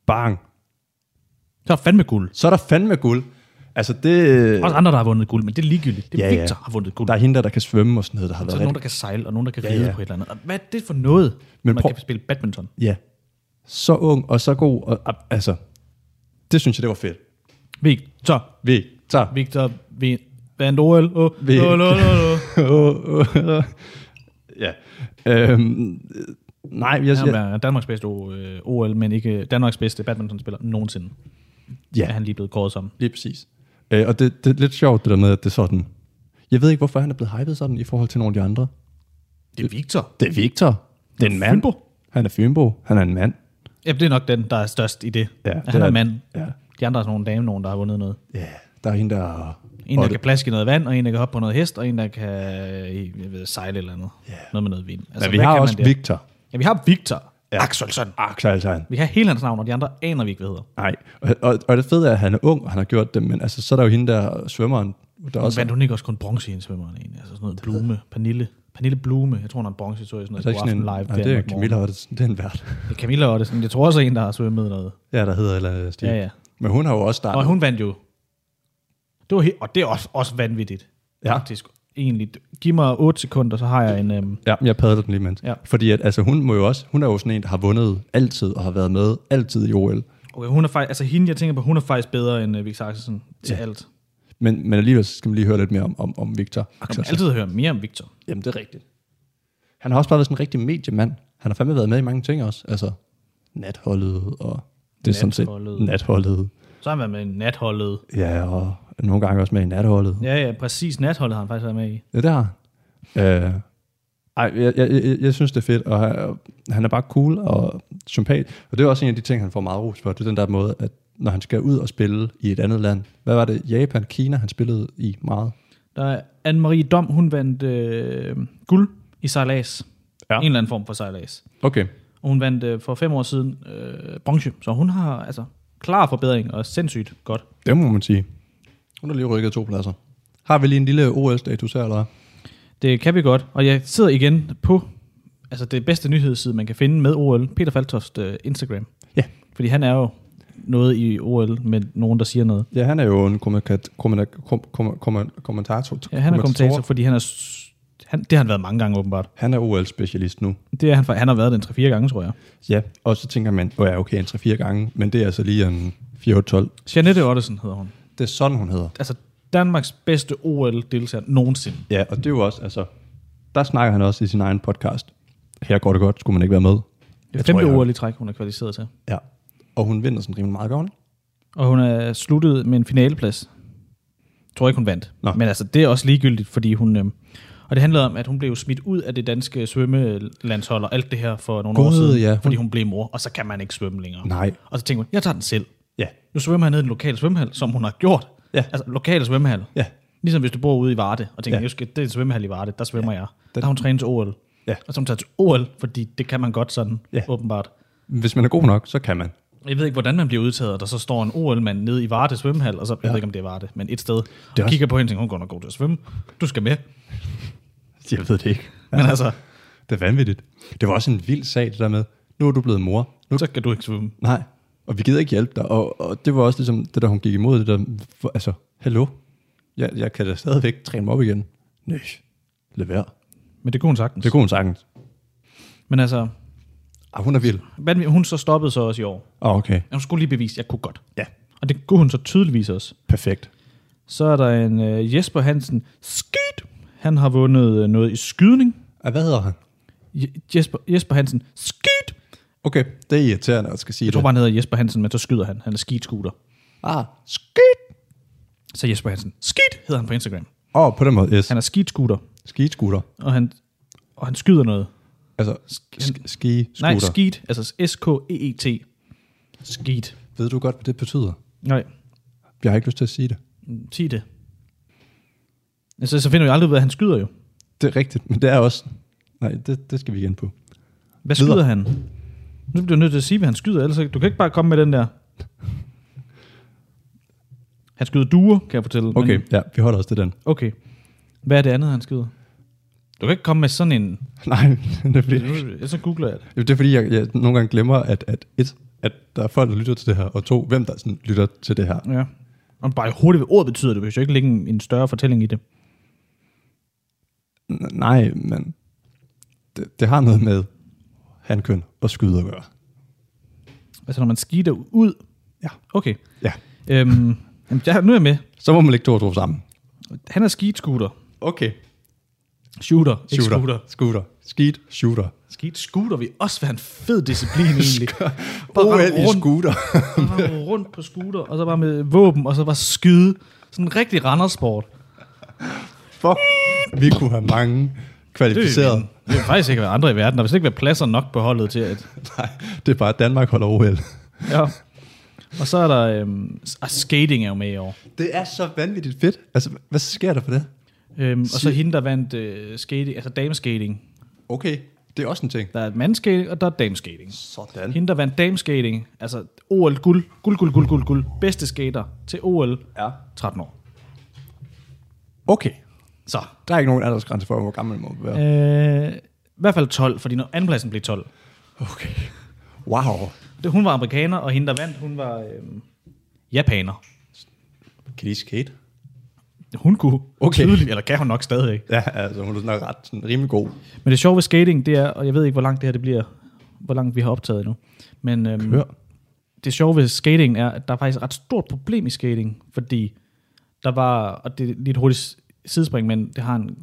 C: Bang.
D: Så er fandme guld.
C: Så er der fandme guld. Altså det...
D: Også andre, der har vundet guld, men det er ligegyldigt. Det er
C: Ja, ja.
D: Victor, der har vundet guld.
C: Der er hende der, der kan svømme og sådan noget, der har
D: Så er
C: været
D: der nogen,
C: rigtig...
D: der kan sejle, og nogen, der kan
C: Ja,
D: ride
C: ja.
D: på et eller andet. Og hvad er det for noget,
C: Men
D: men man
C: prøv-
D: kan spille badminton?
C: Ja. Så ung og så god. Og, ah, altså, det synes jeg, det var fedt.
D: Victor,
C: Vi tager...
D: Victor vind- vandt OL. Åh,
C: Victor.
D: åh, åh, åh, åh.
C: ja. Øhm, øh, nej, jeg
D: Han
C: siger...
D: er Danmarks bedste øh, OL, men ikke Danmarks bedste badmintonspiller nogensinde.
C: Ja.
D: Er han lige blevet kåret som.
C: Lige præcis. Øh, og det, det er lidt sjovt, det der med, at det er sådan... Jeg ved ikke, hvorfor han er blevet hypet sådan i forhold til nogle af de andre.
D: Det er Victor.
C: Det er Victor. Det er en mand.
D: Fynbo.
C: Han er Fynbo. Han er en mand.
D: Ja, det er nok den, der er størst i det.
C: Ja,
D: At
C: den
D: han er
C: er-
D: en mand.
C: ja.
D: De andre er sådan nogle dame, nogen, der har vundet noget.
C: Ja, der er hende, der...
D: En, der
C: og-
D: kan plaske i noget vand, og en, der kan hoppe på noget hest, og en, der kan øh, jeg ved, sejle eller noget. Noget med noget vind. Altså,
C: Men vi
D: hvad
C: har
D: kan
C: også
D: man der?
C: Victor.
D: Ja, vi har Victor.
C: Ja.
D: Axelsson.
C: Axel altså han.
D: Vi har hele hans navn, og de andre aner vi ikke, hvad hedder.
C: Nej, og, og, og, det fede er, at han er ung, og han har gjort det, men altså, så er der jo hende der svømmeren, der
D: Og
C: også...
D: vandt hun ikke også kun bronze i en svømmer? egentlig? Altså sådan noget Blume, Pernille. Pernille Blume, jeg tror, hun har en bronze, så jeg sådan noget.
C: er der ikke sådan en, nej,
D: live
C: det er Camilla, og det, det er en vært.
D: Det er Camilla Ottesen. Jeg tror også, en, der har svømmet noget.
C: Ja, der hedder eller Stig.
D: Ja, ja.
C: Men hun har jo også startet.
D: Og hun vandt jo. Det var he- og det er også, også vanvittigt.
C: Ja.
D: Faktisk. Egentlig. Giv mig 8 sekunder, så har jeg en... Øhm,
C: Ja, men jeg padler den lige mens.
D: Ja.
C: Fordi at, altså, hun, må jo også, hun er jo sådan en, der har vundet altid, og har været med altid i OL.
D: okay, hun er faktisk... Altså hende, jeg tænker på, hun er faktisk bedre end øh, Victor Axelsen til ja. alt.
C: Men, men alligevel så skal man lige høre lidt mere om, om, om Victor
D: Nå,
C: Axelsen.
D: man altid hører mere om Victor.
C: altså, Jamen, det er rigtigt. Han har også bare været sådan en rigtig mediemand. Han har fandme været med i mange ting også. Altså, natholdet og... Det er sådan set
D: Natholdet.
C: natholdet.
D: Så har han været med i natholdet.
C: Ja, og nogle gange også med i natholdet. Ja,
D: Ja, ja, præcis. Natholdet har han faktisk været med i.
C: ja det har han. Øh, ej, jeg, jeg, jeg, jeg synes, det er fedt, og han, han er bare cool og sympatisk. Og det er også en af de ting, han får meget ros for. Det er den der måde, at når han skal ud og spille i et andet land. Hvad var det? Japan, Kina, han spillede i meget.
D: Der er Anne-Marie Dom, hun vandt øh, guld i sejlads.
C: Ja.
D: Ja. En eller anden form for sejlads.
C: Okay.
D: Og hun vandt øh, for fem år siden øh, bronze, så hun har altså klar forbedring og sindssygt godt.
C: Det må man sige. Hun har lige rykket to pladser. Har vi lige en lille OL-status her, eller hvad?
D: Det kan vi godt, og jeg sidder igen på altså det bedste nyhedsside, man kan finde med OL, Peter Faltoft øh, Instagram.
C: Ja.
D: Fordi han er jo noget i OL med nogen, der siger noget.
C: Ja, han er jo en kommentat- kommen- kom- kom- kom- kommentator.
D: Ja, han er kommentator, fordi han er... s- Han, det har han været mange gange åbenbart.
C: Han er OL-specialist nu.
D: Det er han, for han har været den 3-4 gange, tror jeg.
C: Ja, og så tænker man, åh ja, okay, en 3-4 gange, men det er altså lige en 4-12.
D: Janette Ottesen hedder hun.
C: Det er sådan, hun hedder.
D: Altså Danmarks bedste OL-deltager nogensinde.
C: Ja, og det er jo også, altså, der snakker han også i sin egen podcast. Her går det godt, skulle man ikke være med.
D: Det er
C: Jeg tror,
D: femte
C: jeg har-
D: OL i træk, hun er kvalificeret til.
C: Ja. Og hun vinder sådan rimelig meget gavn.
D: Og hun er sluttet med en finaleplads. Jeg tror ikke, hun vandt.
C: Nå.
D: Nå. Men altså, det er også ligegyldigt, fordi hun... Øhm, og det handlede om, at hun blev smidt ud af det danske svømmelandshold og alt det her for nogle år
C: Gud,
D: siden,
C: ja. Hun-
D: fordi hun blev mor, og så kan man ikke svømme længere.
C: Nej.
D: Og så tænkte hun, jeg tager den selv.
C: Ja.
D: Nu svømmer jeg ned i den lokale svømmehal, som hun har gjort.
C: Ja.
D: Altså, lokale svømmehal.
C: Ja.
D: Ligesom hvis du bor ude i Varde, og tænker,
C: Ja.
D: ja. skal, det er en svømmehal i Varde, der svømmer ja. jeg. Der har hun trænet til OL.
C: Ja.
D: Og så har hun taget til OL, fordi det kan man godt sådan,
C: Ja.
D: ja. åbenbart.
C: Hvis man er god nok, så kan man.
D: Jeg ved ikke, hvordan man bliver udtaget, og der så står en OL-mand nede i Varde svømmehal, og så, jeg ved ikke, om det er Varde, men et sted, det og
C: også-
D: kigger på hende og tænker, hun går nok god til at svømme. Du skal med.
C: Jeg ved det ikke.
D: Men altså,
C: Det er vanvittigt. Det var også en vild sag, det der med, nu er du blevet mor. Nu
D: så skal du ikke svømme.
C: Nej, og vi gider ikke hjælpe dig. Og, og det var også ligesom det, der hun gik imod. Det der, for, altså, hello, jeg, jeg kan da stadigvæk træne mig op igen. Nej, lad være.
D: Men det kunne hun sagtens.
C: Det kunne hun sagtens.
D: Men altså,
C: Ah, hun er vild.
D: hvad- hun så stoppede så også i år.
C: Ah, okay.
D: Hun skulle lige bevise, at jeg kunne godt.
C: Ja,
D: Og det kunne hun så tydeligvis også.
C: perfekt.
D: Så er der en øh, Jesper Hansen. Skid! Han har vundet øh, noget i skydning.
C: Ah, hvad hedder han?
D: Je- Jesper, Jesper Hansen. Skid!
C: Okay, det er irriterende at skal sige
D: Jeg tror
C: det.
D: bare, han hedder Jesper Hansen, men så skyder han. Han er skidskuter.
C: Ah, skidt.
D: Så Jesper Hansen. Skid hedder han på Instagram.
C: Åh, på den måde, yes.
D: Han er skidskuter,
C: Skiskuter.
D: og han, og han skyder noget.
C: Altså,
D: Sk-
C: skiskuter.
D: nej, skid, altså S-K-E-E-T. Skid.
C: Ved du godt, hvad det betyder?
D: Nej,
C: Jeg har ikke lyst til at sige det.
D: sig det. Altså, så finder vi aldrig ud af, at han skyder jo.
C: Det er rigtigt, men det er også... Nej, det, det skal vi igen på.
D: Hvad
C: Videre.
D: skyder han? Nu bliver du nødt til at sige, hvad han skyder, ellers du kan ikke bare komme med den der. Han skyder duer, kan jeg fortælle.
C: Okay,
D: Men,
C: ja, vi holder os til den.
D: okay. Hvad er det andet, han skyder? Du kan ikke komme med sådan en...
C: Nej, det er fordi,
D: Så googler jeg det.
C: det er fordi jeg, jeg nogle gange glemmer, at, at et, at der er folk, der lytter til det her, og to, hvem der sådan lytter til det her.
D: Ja. Og bare hurtigt ved ord betyder det, hvis jeg ikke lægge en, en større fortælling i det.
C: N- nej, men det, det har noget med hankøn og skyde at gøre.
D: Altså, når man skider ud...
C: Ja.
D: Okay.
C: Ja.
D: Øhm, jamen, jeg, nu er jeg med.
C: Så må man lægge to og to sammen.
D: Han er skidskuter.
C: Okay.
D: Shooter. Shooter. Ikke
C: Shooter.
D: scooter.
C: Scooter. Skeet. Shooter.
D: Skeet scooter vil også være en fed disciplin egentlig. Bare
C: OL
D: rende
C: i
D: rundt,
C: scooter.
D: bare rende rundt på scooter, og så bare med våben, og så bare skyde. Sådan en rigtig randersport.
C: Fuck. Vi kunne have mange kvalificerede.
D: Det vil faktisk ikke være andre i verden. Der vil slet ikke være pladser nok på holdet til at...
C: Nej, det er bare, at Danmark holder OL.
D: Ja. Og så er der... Øhm, s- ah, skating er jo med i år.
C: Det er så vanvittigt fedt. Altså, hvad sker der for det?
D: Øhm, og så hende, der vandt øh, skating, altså dameskating.
C: Okay, det er også en ting.
D: Der er mandskating, og der er dameskating.
C: Sådan.
D: Hende, der vandt dameskating, altså OL guld, guld, guld, guld, guld, guld, bedste skater til OL,
C: Ja.
D: 13 år.
C: Okay,
D: Så,
C: der er ikke nogen aldersgrænse for, hvor gammel man må være.
D: Øh, I hvert fald 12, fordi når andenpladsen blev 12.
C: Okay. Wow.
D: Det, hun var amerikaner, og hende, der vandt, hun var øh, japaner.
C: Kan de skate?
D: Hun kunne
C: Okay.
D: okay. tydeligt, eller kan hun nok stadigvæk.
C: Ja, altså hun er sådan ret sådan, rimelig god.
D: Men det sjove ved skating, det er, og jeg ved ikke, hvor langt det her det bliver, hvor langt vi har optaget nu. Men øhm, det sjove ved skating er, at der er faktisk et ret stort problem i skating, fordi der var, og det er lige et hurtigt sidespring, men det har en,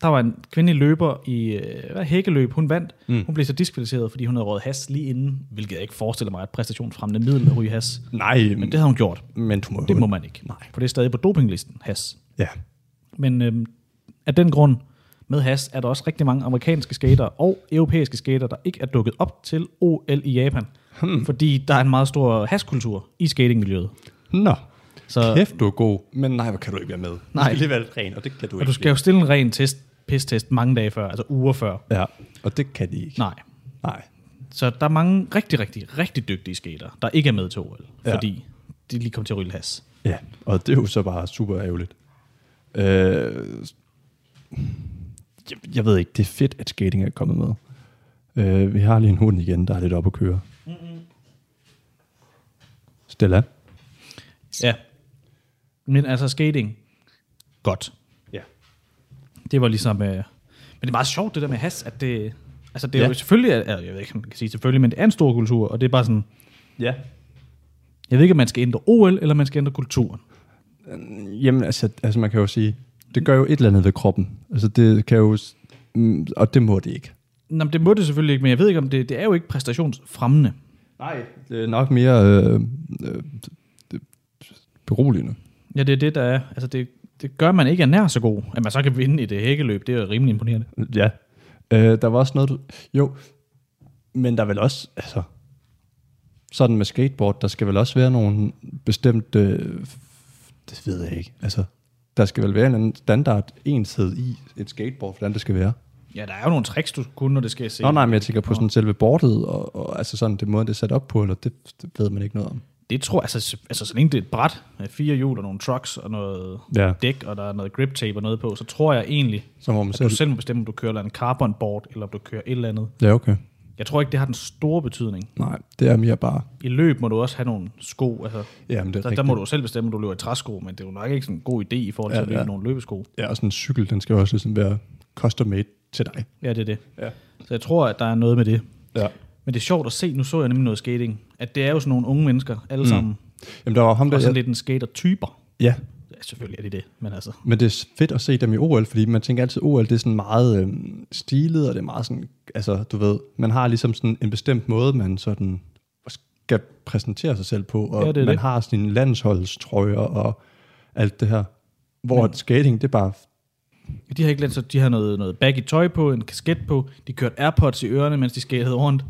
D: der var en kvindelig løber i øh, hvad, hækkeløb, hun vandt. Mm. Hun blev så diskvalificeret, fordi hun havde røget has lige inden, hvilket jeg ikke forestiller mig er et præstationsfremmende middel at ryge has.
C: Nej, men,
D: Det havde hun gjort.
C: men du må
D: Det må man ikke. Nej. For det er stadig på dopinglisten, has.
C: Ja.
D: Men øhm, af den grund med has er der også rigtig mange amerikanske skater og europæiske skater, der ikke er dukket op til OL i Japan. Hmm. Fordi der er en meget stor haskultur i skatingmiljøet.
C: Nå,
D: Så
C: kæft du er god. Men nej, hvor kan du ikke være med?
D: Nej.
C: Du skal lige være ren, og det kan du
D: og
C: ikke.
D: du skal jo stille en ren test, pistest mange dage før, altså uger før.
C: Ja, og det kan de ikke.
D: Nej.
C: Nej.
D: Så der er mange rigtig, rigtig, rigtig dygtige skater, der ikke er med til OL,
C: Ja.
D: fordi de lige kom til at ryge has.
C: Ja, og det er jo så bare super ærgerligt. Øh, jeg, jeg ved ikke, det er fedt, at skating er kommet med. Øh, vi har lige en hund igen, der er lidt op at køre. Mm-hmm. Stella?
D: Ja. Men altså skating, godt.
C: Ja.
D: Det var ligesom... Øh, men det er meget sjovt, det der med has, at det... Altså, det er ja.
C: Ja.
D: jo selvfølgelig... er- Jeg ved ikke, om man kan sige selvfølgelig, men det er en stor kultur, og det er bare sådan...
C: Ja.
D: Jeg ved ikke, om man skal ændre OL, eller man skal ændre kulturen.
C: Jamen, altså, altså man kan jo sige, det gør jo et eller andet ved kroppen. Altså det kan jo... s- mm, Og det må det ikke.
D: Nå, men det må det selvfølgelig ikke, men jeg ved ikke, om det... Det er jo ikke præstationsfremmende.
C: Nej. Det er nok mere øh, øh, det- beroligende.
D: Ja, det er det, der er... Altså, det, det gør at man ikke er nær så god. At man så kan vinde i det hækkeløb, det er jo rimelig imponerende.
C: Ja. Øh, der var også noget, du... Jo, men der er vel også, altså... Sådan med skateboard, der skal vel også være nogle bestemte... Øh, f- det ved jeg ikke. Altså, der skal vel være en eller anden standard enshed i et skateboard, hvordan det skal være.
D: Ja, der er jo nogle tricks, du skal kunne, når det skal se.
C: Nå nej, men jeg tænker på sådan selve boardet, og, og altså sådan det måde, det er sat op på, eller det, det ved man ikke noget om.
D: Det tror jeg, altså, altså så længe det er et bræt med fire hjul og nogle trucks og noget
C: Ja.
D: ja. dæk, og der er noget grip tape og noget på, så tror jeg egentlig,
C: Så må man
D: at du
C: selv...
D: selv må bestemme, om du kører en carbonboard, eller om du kører et eller andet.
C: Ja, okay.
D: Jeg tror ikke, det har den store betydning.
C: Nej, det er mere bare...
D: I løb må du også have nogle sko. Altså,
C: Jamen, det er
D: der, der
C: rigtigt.
D: må du jo selv bestemme, om du løber i træsko, men det er jo nok ikke sådan en god idé i forhold
C: Ja,
D: til ja, at løbe
C: ja.
D: ja. nogle løbesko.
C: Ja, og sådan en cykel, den skal jo også ligesom være custom made til dig.
D: Ja, det er det.
C: Ja.
D: Så jeg tror, at der er noget med det.
C: Ja.
D: Men det er sjovt at se, nu så jeg nemlig noget skating, at det er jo sådan nogle unge mennesker, alle mm. sammen,
C: Jamen, der var ham der...
D: og sådan lidt en skater-typer.
C: Ja,
D: Ja, selvfølgelig er de det, men altså...
C: Men det er fedt at se dem i OL, fordi man tænker altid, at OL det er sådan meget øh, stilet, og det er meget sådan, altså du ved, man har ligesom sådan en bestemt måde, man sådan skal præsentere sig selv på, og
D: Ja, det er
C: man
D: det.
C: har sine landsholdstrøjer, og alt det her. Hvor
D: Men-
C: mm. skating, det er bare...
D: De har ikke lært, så de har noget, noget baggy tøj på, en kasket på. De kørte Airpods i ørerne, mens de skatede rundt.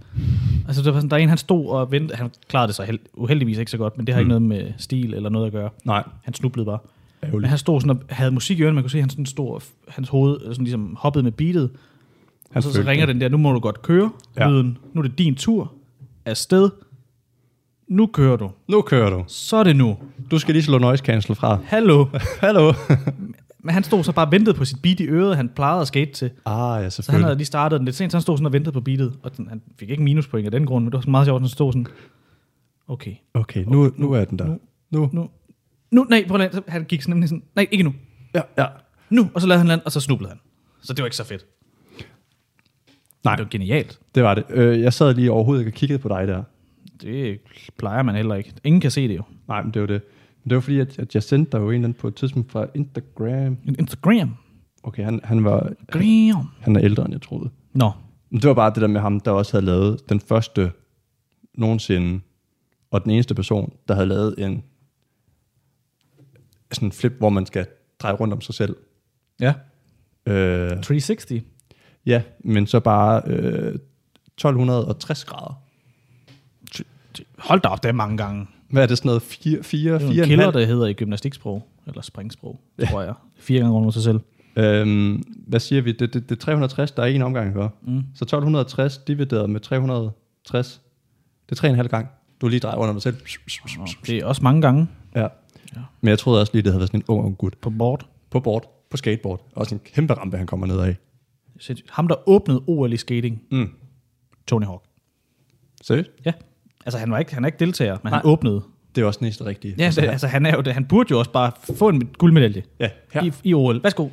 D: Altså, der, var sådan, der er en, han stod og ventede. Han klarede det sig held, uheldigvis ikke så godt, men det har mm. ikke noget med stil eller noget at gøre.
C: Nej,
D: Han snublede bare. Men
C: ærgerligt.
D: han stod sådan og havde musik i ørerne. Man kunne se, at han sådan stod, og f- hans hoved øh, sådan ligesom hoppede med beatet.
C: Han
D: og så, så
C: følte
D: ringer den der, nu må du godt køre. Ja.
C: Ja.
D: Lyden, nu er det din tur. Afsted. Nu kører du.
C: Nu kører du.
D: Så er det nu.
C: Du skal lige slå noise cancel fra.
D: Hallo.
C: Hallo.
D: Men han stod så bare og ventede på sit beat i øret, han plejede at skate til.
C: ah, ja,
D: Så han
C: selvfølgelig.
D: havde lige startet den lidt sent, så han stod sådan og ventede på beatet. Og den, han fik ikke minuspoint af den grund, men det var sådan meget sjovt, at han stod sådan, okay,
C: Okay, nu, nu er den der.
D: nu-
C: Nu. nu.
D: nu, nu, nej, prøv at lade- så han gik sådan nemlig sådan, nej, ikke nu,
C: Ja, ja.
D: nu, og så lavede han land, og så snublede han. Så det var ikke så fedt.
C: Nej.
D: Det var genialt.
C: Det var det. Øh, jeg sad lige overhovedet ikke og kiggede på dig der.
D: Det plejer man heller ikke. Ingen kan se det jo.
C: Nej, men det var det. Men det var fordi, at, at jeg sendte dig jo en eller anden på et tidspunkt fra Instagram.
D: Instagram.
C: Okay, han, han var...
D: Gram.
C: Han er ældre, end jeg troede.
D: Nå,
C: Men det var bare det der med ham, der også havde lavet den første nogensinde, og den eneste person, der havde lavet en sådan en flip, hvor man skal dreje rundt om sig selv.
D: ja.
C: Øh,
D: 360.
C: ja, men så bare øh, 1260 grader.
D: Hold da op, det er mange gange.
C: Hvad er det sådan noget? 4, 4,
D: Det er
C: 4
D: jo en kilder, der hedder i gymnastiksprog, eller springsprog, tror jeg. Fire gange rundt om sig selv.
C: Øhm, hvad siger vi? Det, det, det er 360, der er en omgang, ikke? Mm. Så 1260 divideret med 360, det er 3,5 gang. Du lige drejer rundt om dig selv.
D: Nå, Det er også mange gange
C: Ja. Men jeg troede også lige, det havde været sådan en ung, ung gut.
D: på board.
C: på board, på skateboard. Også en kæmpe rampe, han kommer ned af.
D: Sindssygt. Ham, der åbnede OL i skating,
C: Mm.
D: Tony Hawk.
C: Seriøst?
D: Ja. Altså, han, var ikke, han er ikke deltager, men Nej. han
C: Nej.
D: åbnede.
C: Det er også den eneste rigtige.
D: Ja, altså, altså, han, er jo, det- han burde jo også bare få en guldmedalje
C: ja her.
D: i, i OL. Værsgo.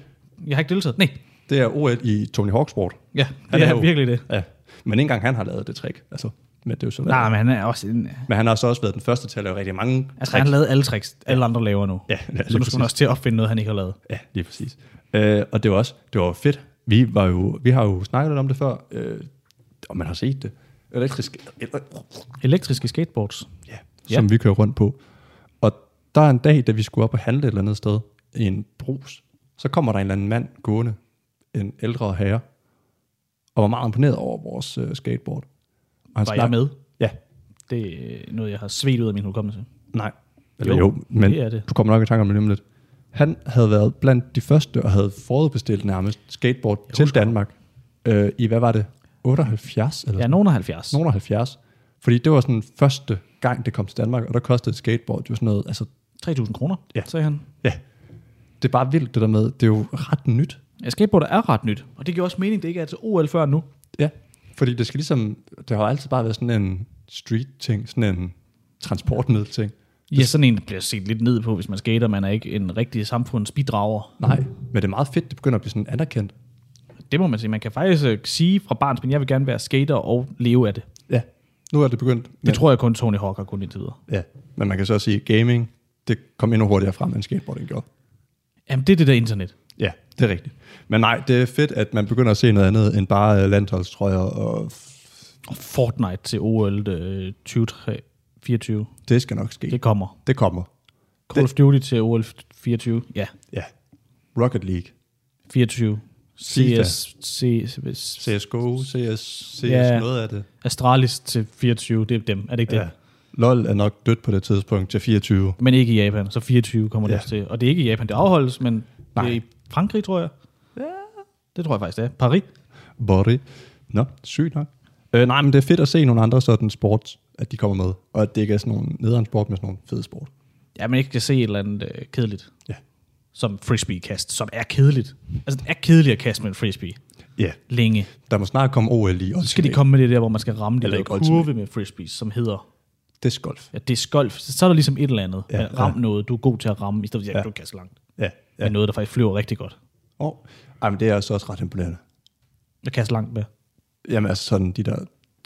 D: Jeg har ikke deltaget. Nej.
C: Det er OL i Tony Hawk's sport.
D: Ja,
C: Han
D: det
C: er
D: er,
C: jo-
D: virkelig det.
C: Ja. Men ikke engang han har lavet det trick. Altså, men det er jo sådan.
D: Nej, men han er også en...
C: Men han har så også været den første til at lave rigtig mange tricks.
D: Altså, han lavede alle tricks, alle andre laver nu.
C: Ja, ja, lige
D: så nu skulle
C: præcis.
D: han også til at opfinde noget, han ikke har lavet.
C: Ja, lige præcis. Øh, og det var også det var fedt. Vi, var jo, vi har jo snakket lidt om det før, øh, og man har set det. Elektrisk,
D: Elektriske skateboards.
C: ja,
D: Ja.
C: som vi kører rundt på. Og der er en dag, da vi skulle op og handle et eller andet sted i en brus, så kommer der en eller anden mand gående, en ældre herre, og var meget imponeret over vores øh, skateboard. Og han
D: Var
C: snak-
D: jeg med?
C: Ja,
D: Det er noget, jeg har svedt ud af min hukommelse.
C: nej. Eller jo, jo men
D: det er det.
C: du kommer nok i tanke om det lige om lidt. Han havde været blandt de første, og havde forudbestilt nærmest skateboard til Danmark. Øh, I, hvad var det? 78? Eller
D: Jeg er nogen af 70.
C: nogen af 70. Fordi det var sådan første gang, det kom til Danmark, og der kostede et skateboard jo sådan noget, altså
D: 3.000 kroner, ja.
C: Ja.
D: sagde han.
C: Ja. Det er bare vildt, det der med. Det er jo ret nyt.
D: Ja, skateboard er ret nyt, og det giver også mening, det ikke er til OL før nu.
C: Ja. Fordi det skal ligesom... Det har jo altid bare været sådan en street-ting, sådan en transportmiddel-ting.
D: Ja, sådan en der bliver set lidt ned på, hvis man skater. Man er ikke en rigtig samfundsbidrager.
C: Nej, men det er meget fedt, det begynder at blive sådan anerkendt.
D: Det må man sige. Man kan faktisk øh, sige fra barns, men jeg vil gerne være skater og leve af det.
C: Ja. Nu er det begyndt.
D: Det tror jeg kun Tony Hawk har kunnet indtil videre.
C: Ja. Men man kan så også sige, gaming, det kom endnu hurtigere frem, end skateboarding gjorde.
D: Jamen, det er det der internet.
C: Ja, det er rigtigt. Men nej, det er fedt, at man begynder at se noget andet, end bare øh, landsholdstrøjer og...
D: Og Fortnite til OL øh, 2024.
C: Det skal nok ske.
D: Det kommer.
C: Det kommer.
D: Call of Duty til OL 24. Ja,
C: Ja. Rocket League.
D: 24.
C: FIFA.
D: CS, CS,
C: CSGO, CS, CS
D: Ja.
C: noget af det.
D: Astralis til 24, det er dem, er det ikke det?
C: Ja. LOL er nok dødt på det tidspunkt til 24.
D: Men ikke i Japan, så 24 kommer det
C: Ja.
D: også til. Og det er ikke i Japan, det afholdes, men Nej.
C: Nej.
D: det er i Frankrig, tror jeg. Ja. Det tror jeg faktisk, det er. Paris.
C: Body. Nå, sygt nok. Øh, nej, men det er fedt at se nogle andre sådan sports, at de kommer med. Og at det ikke er sådan nogle nederen sport, men sådan nogle fede sport.
D: Ja, man ikke kan se et eller andet øh, kedeligt.
C: Ja.
D: Som frisbee-kast, som er kedeligt. Altså, det er kedeligt at kaste med en frisbee.
C: Ja,
D: Længe.
C: der må snart komme OL i.
D: Så skal de komme med det der, hvor man skal ramme de
C: Eller
D: der
C: ikke ultimate.
D: kurve med frisbees, som hedder,
C: Det er golf.
D: ja, det er skolf. Så så er der ligesom et eller andet.
C: Ja,
D: Ja, ram
C: ja.
D: noget, du er god til at ramme, i stedet for at ja.
C: Ja.
D: du kan så langt.
C: Ja.
D: Ja.
C: ja.
D: Men noget, der faktisk flyver rigtig godt.
C: Og, ej, men det er altså også ret imponerende.
D: Jeg kaster langt med.
C: Jamen altså sådan de der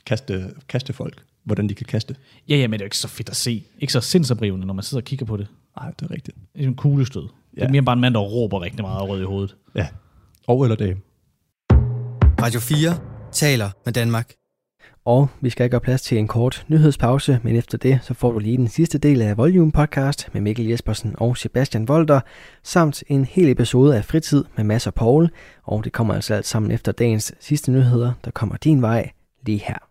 C: kaste, kastefolk, hvordan de kan kaste.
D: Ja, ja, men det er jo ikke så fedt at se. Ikke så sindsoprivende, når man sidder og kigger på det.
C: Nej, det er rigtigt.
D: Det er en kuglestød. Ja. Det er
C: Ja.
D: mere bare en mand, der råber rigtig meget og er rød i hovedet.
C: Ja. Og eller dame.
A: Radio 4 taler med Danmark.
B: Og vi skal gøre plads til en kort nyhedspause, men efter det så får du lige den sidste del af Volume Podcast med Mikkel Jespersen og Sebastian Volter, samt en hel episode af Fritid med Mads og Paul, og det kommer altså alt sammen efter dagens sidste nyheder, der kommer din vej lige her.